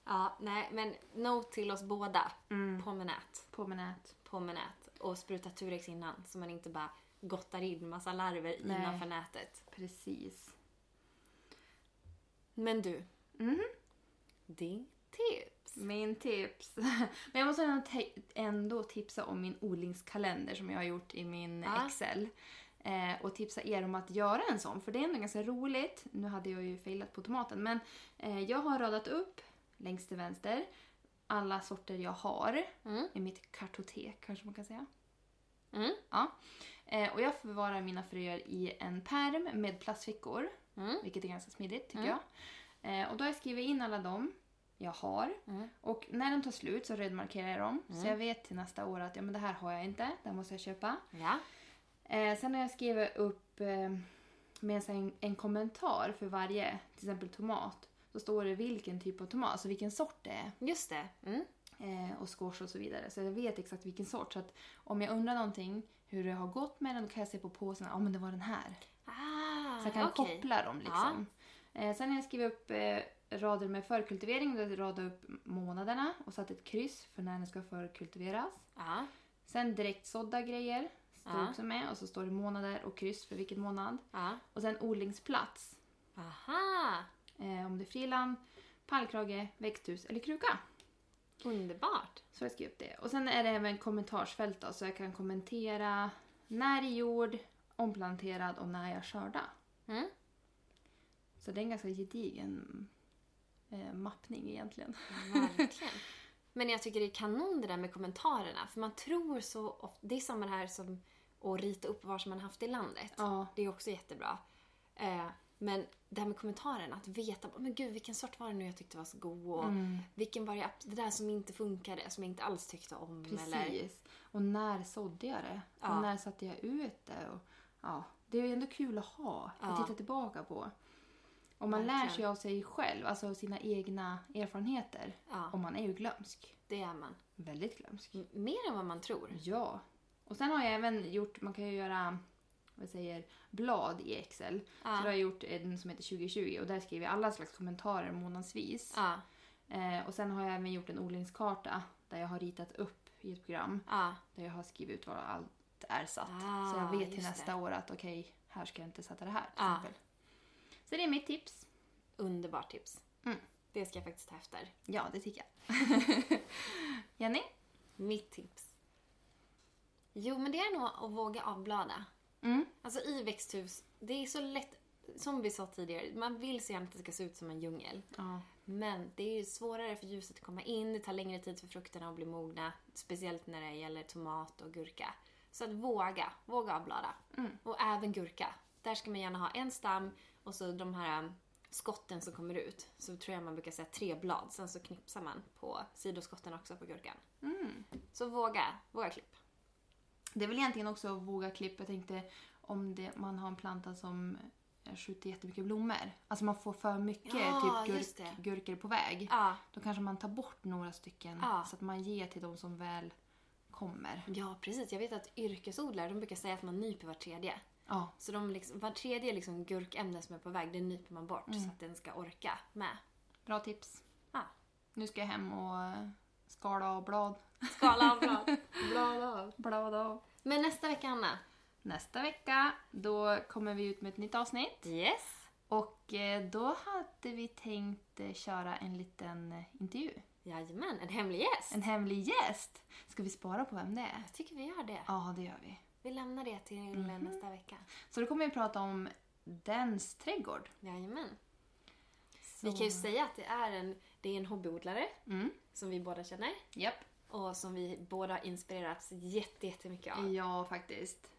[SPEAKER 2] Ja, nej, men not till oss båda. På med nät.
[SPEAKER 1] På med nät.
[SPEAKER 2] På med nät. Och spruta Turex innan, så man inte bara gottar in massa larver
[SPEAKER 1] Nej.
[SPEAKER 2] innanför nätet.
[SPEAKER 1] Precis.
[SPEAKER 2] Men du.
[SPEAKER 1] Mhm.
[SPEAKER 2] Din tips.
[SPEAKER 1] Min tips. *laughs* Men jag måste ändå, te- ändå tipsa om min odlingskalender som jag har gjort i min
[SPEAKER 2] Ja.
[SPEAKER 1] Excel. Eh, och tipsa er om att göra en sån, för det är ändå ganska roligt. Nu hade jag ju failat på tomaten, men eh, jag har radat upp längst till vänster alla sorter jag har
[SPEAKER 2] Mm.
[SPEAKER 1] i mitt kartotek kanske man kan säga.
[SPEAKER 2] Mm.
[SPEAKER 1] Ja. Eh, och jag förvarar mina fröer i en pärm med plastfickor.
[SPEAKER 2] Mm.
[SPEAKER 1] Vilket är ganska smidigt tycker
[SPEAKER 2] Mm.
[SPEAKER 1] jag. Eh, och då har jag skrivit in alla dem. jag har.
[SPEAKER 2] Mm.
[SPEAKER 1] Och när de tar slut så rödmarkerar jag dem. Så jag vet till nästa år att ja, men det här har jag inte, det här måste jag köpa.
[SPEAKER 2] Ja.
[SPEAKER 1] Eh, sen har jag skrivit upp eh, med en, sån- en kommentar för varje, till exempel tomat. Så står det vilken typ av tomat, alltså vilken sort det är.
[SPEAKER 2] Just det. Mm.
[SPEAKER 1] Eh, och squash och så vidare. Så jag vet exakt vilken sort. Så att om jag undrar någonting hur det har gått med den, då kan jag se på påsen, ja men det var den här.
[SPEAKER 2] Ah,
[SPEAKER 1] Så jag kan
[SPEAKER 2] okej.
[SPEAKER 1] koppla dem liksom. Eh, sen har jag skrivit upp eh, rader med förkultivering. Där jag radade upp månaderna och satt ett kryss för när den ska förkultiveras.
[SPEAKER 2] Ja.
[SPEAKER 1] Sen direktsådda grejer. Står
[SPEAKER 2] Ja.
[SPEAKER 1] också med. Och så står det månader och kryss för vilken månad.
[SPEAKER 2] Ja.
[SPEAKER 1] Och sen odlingsplats.
[SPEAKER 2] Aha!
[SPEAKER 1] Eh, om det är friland, pallkrage, växthus eller kruka.
[SPEAKER 2] Underbart.
[SPEAKER 1] Så jag skrev upp det. Och sen är det även kommentarsfält då, så jag kan kommentera när i jord, omplanterad och när jag skördar.
[SPEAKER 2] Mm.
[SPEAKER 1] Så det är en ganska gedigen eh, mappning egentligen. *laughs*
[SPEAKER 2] Verkligen. Men jag tycker det är kanon det där med kommentarerna. För man tror så ofta... Det är samma här som att rita upp var som man haft i landet.
[SPEAKER 1] *laughs* Ja.
[SPEAKER 2] Det är också jättebra. Eh, men det här med kommentarerna, att veta men gud vilken sort var det nu jag tyckte var så god och
[SPEAKER 1] Mm.
[SPEAKER 2] vilken var det, abs- det där som inte funkade, som jag inte alls tyckte om. Eller,
[SPEAKER 1] Precis. Och när sådde jag det?
[SPEAKER 2] Ja.
[SPEAKER 1] Och när satte jag ut det? Och, ja. Det är ju ändå kul att ha,
[SPEAKER 2] Ja.
[SPEAKER 1] att titta tillbaka på. Och man lär
[SPEAKER 2] Verkligen.
[SPEAKER 1] sig av sig själv, alltså av sina egna erfarenheter.
[SPEAKER 2] Ja.
[SPEAKER 1] Och man är ju glömsk.
[SPEAKER 2] det är man.
[SPEAKER 1] Väldigt glömsk.
[SPEAKER 2] M- Mer än vad man tror.
[SPEAKER 1] Ja. Och sen har jag även gjort, man kan ju göra vad jag säger, blad i Excel.
[SPEAKER 2] Ja.
[SPEAKER 1] Så då har jag gjort en som heter 2020 och där skriver jag alla slags kommentarer månadsvis.
[SPEAKER 2] Ja,
[SPEAKER 1] Eh, och sen har jag även gjort en odlingskarta där jag har ritat upp i ett program
[SPEAKER 2] ja,
[SPEAKER 1] där jag har skrivit ut var allt är satt.
[SPEAKER 2] Ah,
[SPEAKER 1] så jag vet till
[SPEAKER 2] just
[SPEAKER 1] nästa år att okej, här ska jag inte sätta det här till
[SPEAKER 2] Ja.
[SPEAKER 1] exempel. Så det är mitt tips.
[SPEAKER 2] underbart tips.
[SPEAKER 1] Mm.
[SPEAKER 2] Det ska jag faktiskt ta efter.
[SPEAKER 1] Ja, det tycker jag. *laughs* Jenny?
[SPEAKER 2] Mitt tips. Jo, men det är nog att våga avblada.
[SPEAKER 1] Mm.
[SPEAKER 2] Alltså i växthus, det är så lätt, som vi sa tidigare, man vill så gärna att det ska se ut som en djungel.
[SPEAKER 1] Ja.
[SPEAKER 2] Men det är ju svårare för ljuset att komma in, det tar längre tid för frukterna att bli mogna. Speciellt när det gäller tomat och gurka. Så att våga, våga avblada. Och även gurka. Där ska man gärna ha en stam och så de här um, skotten som kommer ut. Så tror jag man brukar säga tre blad, sen så knipsar man på sidoskotten också på gurkan. Så våga, våga klipp.
[SPEAKER 1] Det är väl egentligen också att våga klippa. Jag tänkte om det, man har en planta som eh, skjuter jättemycket blommor. Alltså man får för mycket
[SPEAKER 2] Ja,
[SPEAKER 1] typ
[SPEAKER 2] just det.
[SPEAKER 1] gurk, gurkor på väg.
[SPEAKER 2] Ja,
[SPEAKER 1] Då kanske man tar bort några stycken
[SPEAKER 2] Ja.
[SPEAKER 1] så att man ger till de som väl kommer.
[SPEAKER 2] ja precis. Jag vet att yrkesodlare de brukar säga att man nyper var tredje.
[SPEAKER 1] Ja,
[SPEAKER 2] Så de liksom, var tredje liksom gurkämne som är på väg, det nyper man bort så att den ska orka med.
[SPEAKER 1] bra tips.
[SPEAKER 2] Ja.
[SPEAKER 1] Nu ska jag hem och eh, skala av blad. *laughs*
[SPEAKER 2] Skala av *laughs* blad. av.
[SPEAKER 1] Blad av.
[SPEAKER 2] Men nästa vecka, Anna.
[SPEAKER 1] Nästa vecka då kommer vi ut med ett nytt avsnitt.
[SPEAKER 2] Yes.
[SPEAKER 1] Och eh, då hade vi tänkt eh, köra en liten eh, intervju.
[SPEAKER 2] Jajamän, en hemlig gäst.
[SPEAKER 1] En hemlig gäst. Ska vi spara på vem det är?
[SPEAKER 2] Jag tycker vi gör det.
[SPEAKER 1] Ja, det gör vi.
[SPEAKER 2] Vi lämnar det till eh, nästa vecka.
[SPEAKER 1] Så då kommer vi prata om Dens trädgård.
[SPEAKER 2] Jajamän.
[SPEAKER 1] Så...
[SPEAKER 2] Vi kan ju säga att det är en, det är en hobbyodlare
[SPEAKER 1] Mm,
[SPEAKER 2] som vi båda känner
[SPEAKER 1] japp.
[SPEAKER 2] och som vi båda har inspirerats jätte, jättemycket av.
[SPEAKER 1] Ja, faktiskt.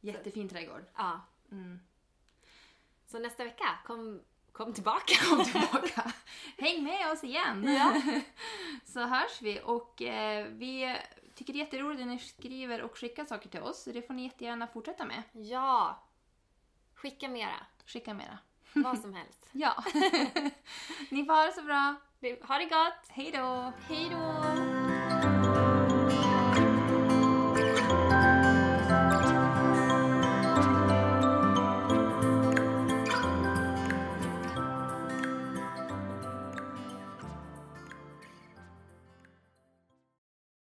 [SPEAKER 1] Jättefin trädgård.
[SPEAKER 2] Ja.
[SPEAKER 1] Mm.
[SPEAKER 2] Så nästa vecka, kom, kom tillbaka.
[SPEAKER 1] tillbaka. *laughs* Häng med oss igen! *laughs* så hörs vi. Och eh, vi tycker det är jätteroligt när ni skriver och skickar saker till oss. Så det får ni jättegärna fortsätta med.
[SPEAKER 2] *laughs* ja. Skicka mera.
[SPEAKER 1] Skicka mera.
[SPEAKER 2] Vad som helst.
[SPEAKER 1] Ja. *laughs* ni får ha det så bra.
[SPEAKER 2] Ha det gott.
[SPEAKER 1] Hej då!
[SPEAKER 2] Hej då.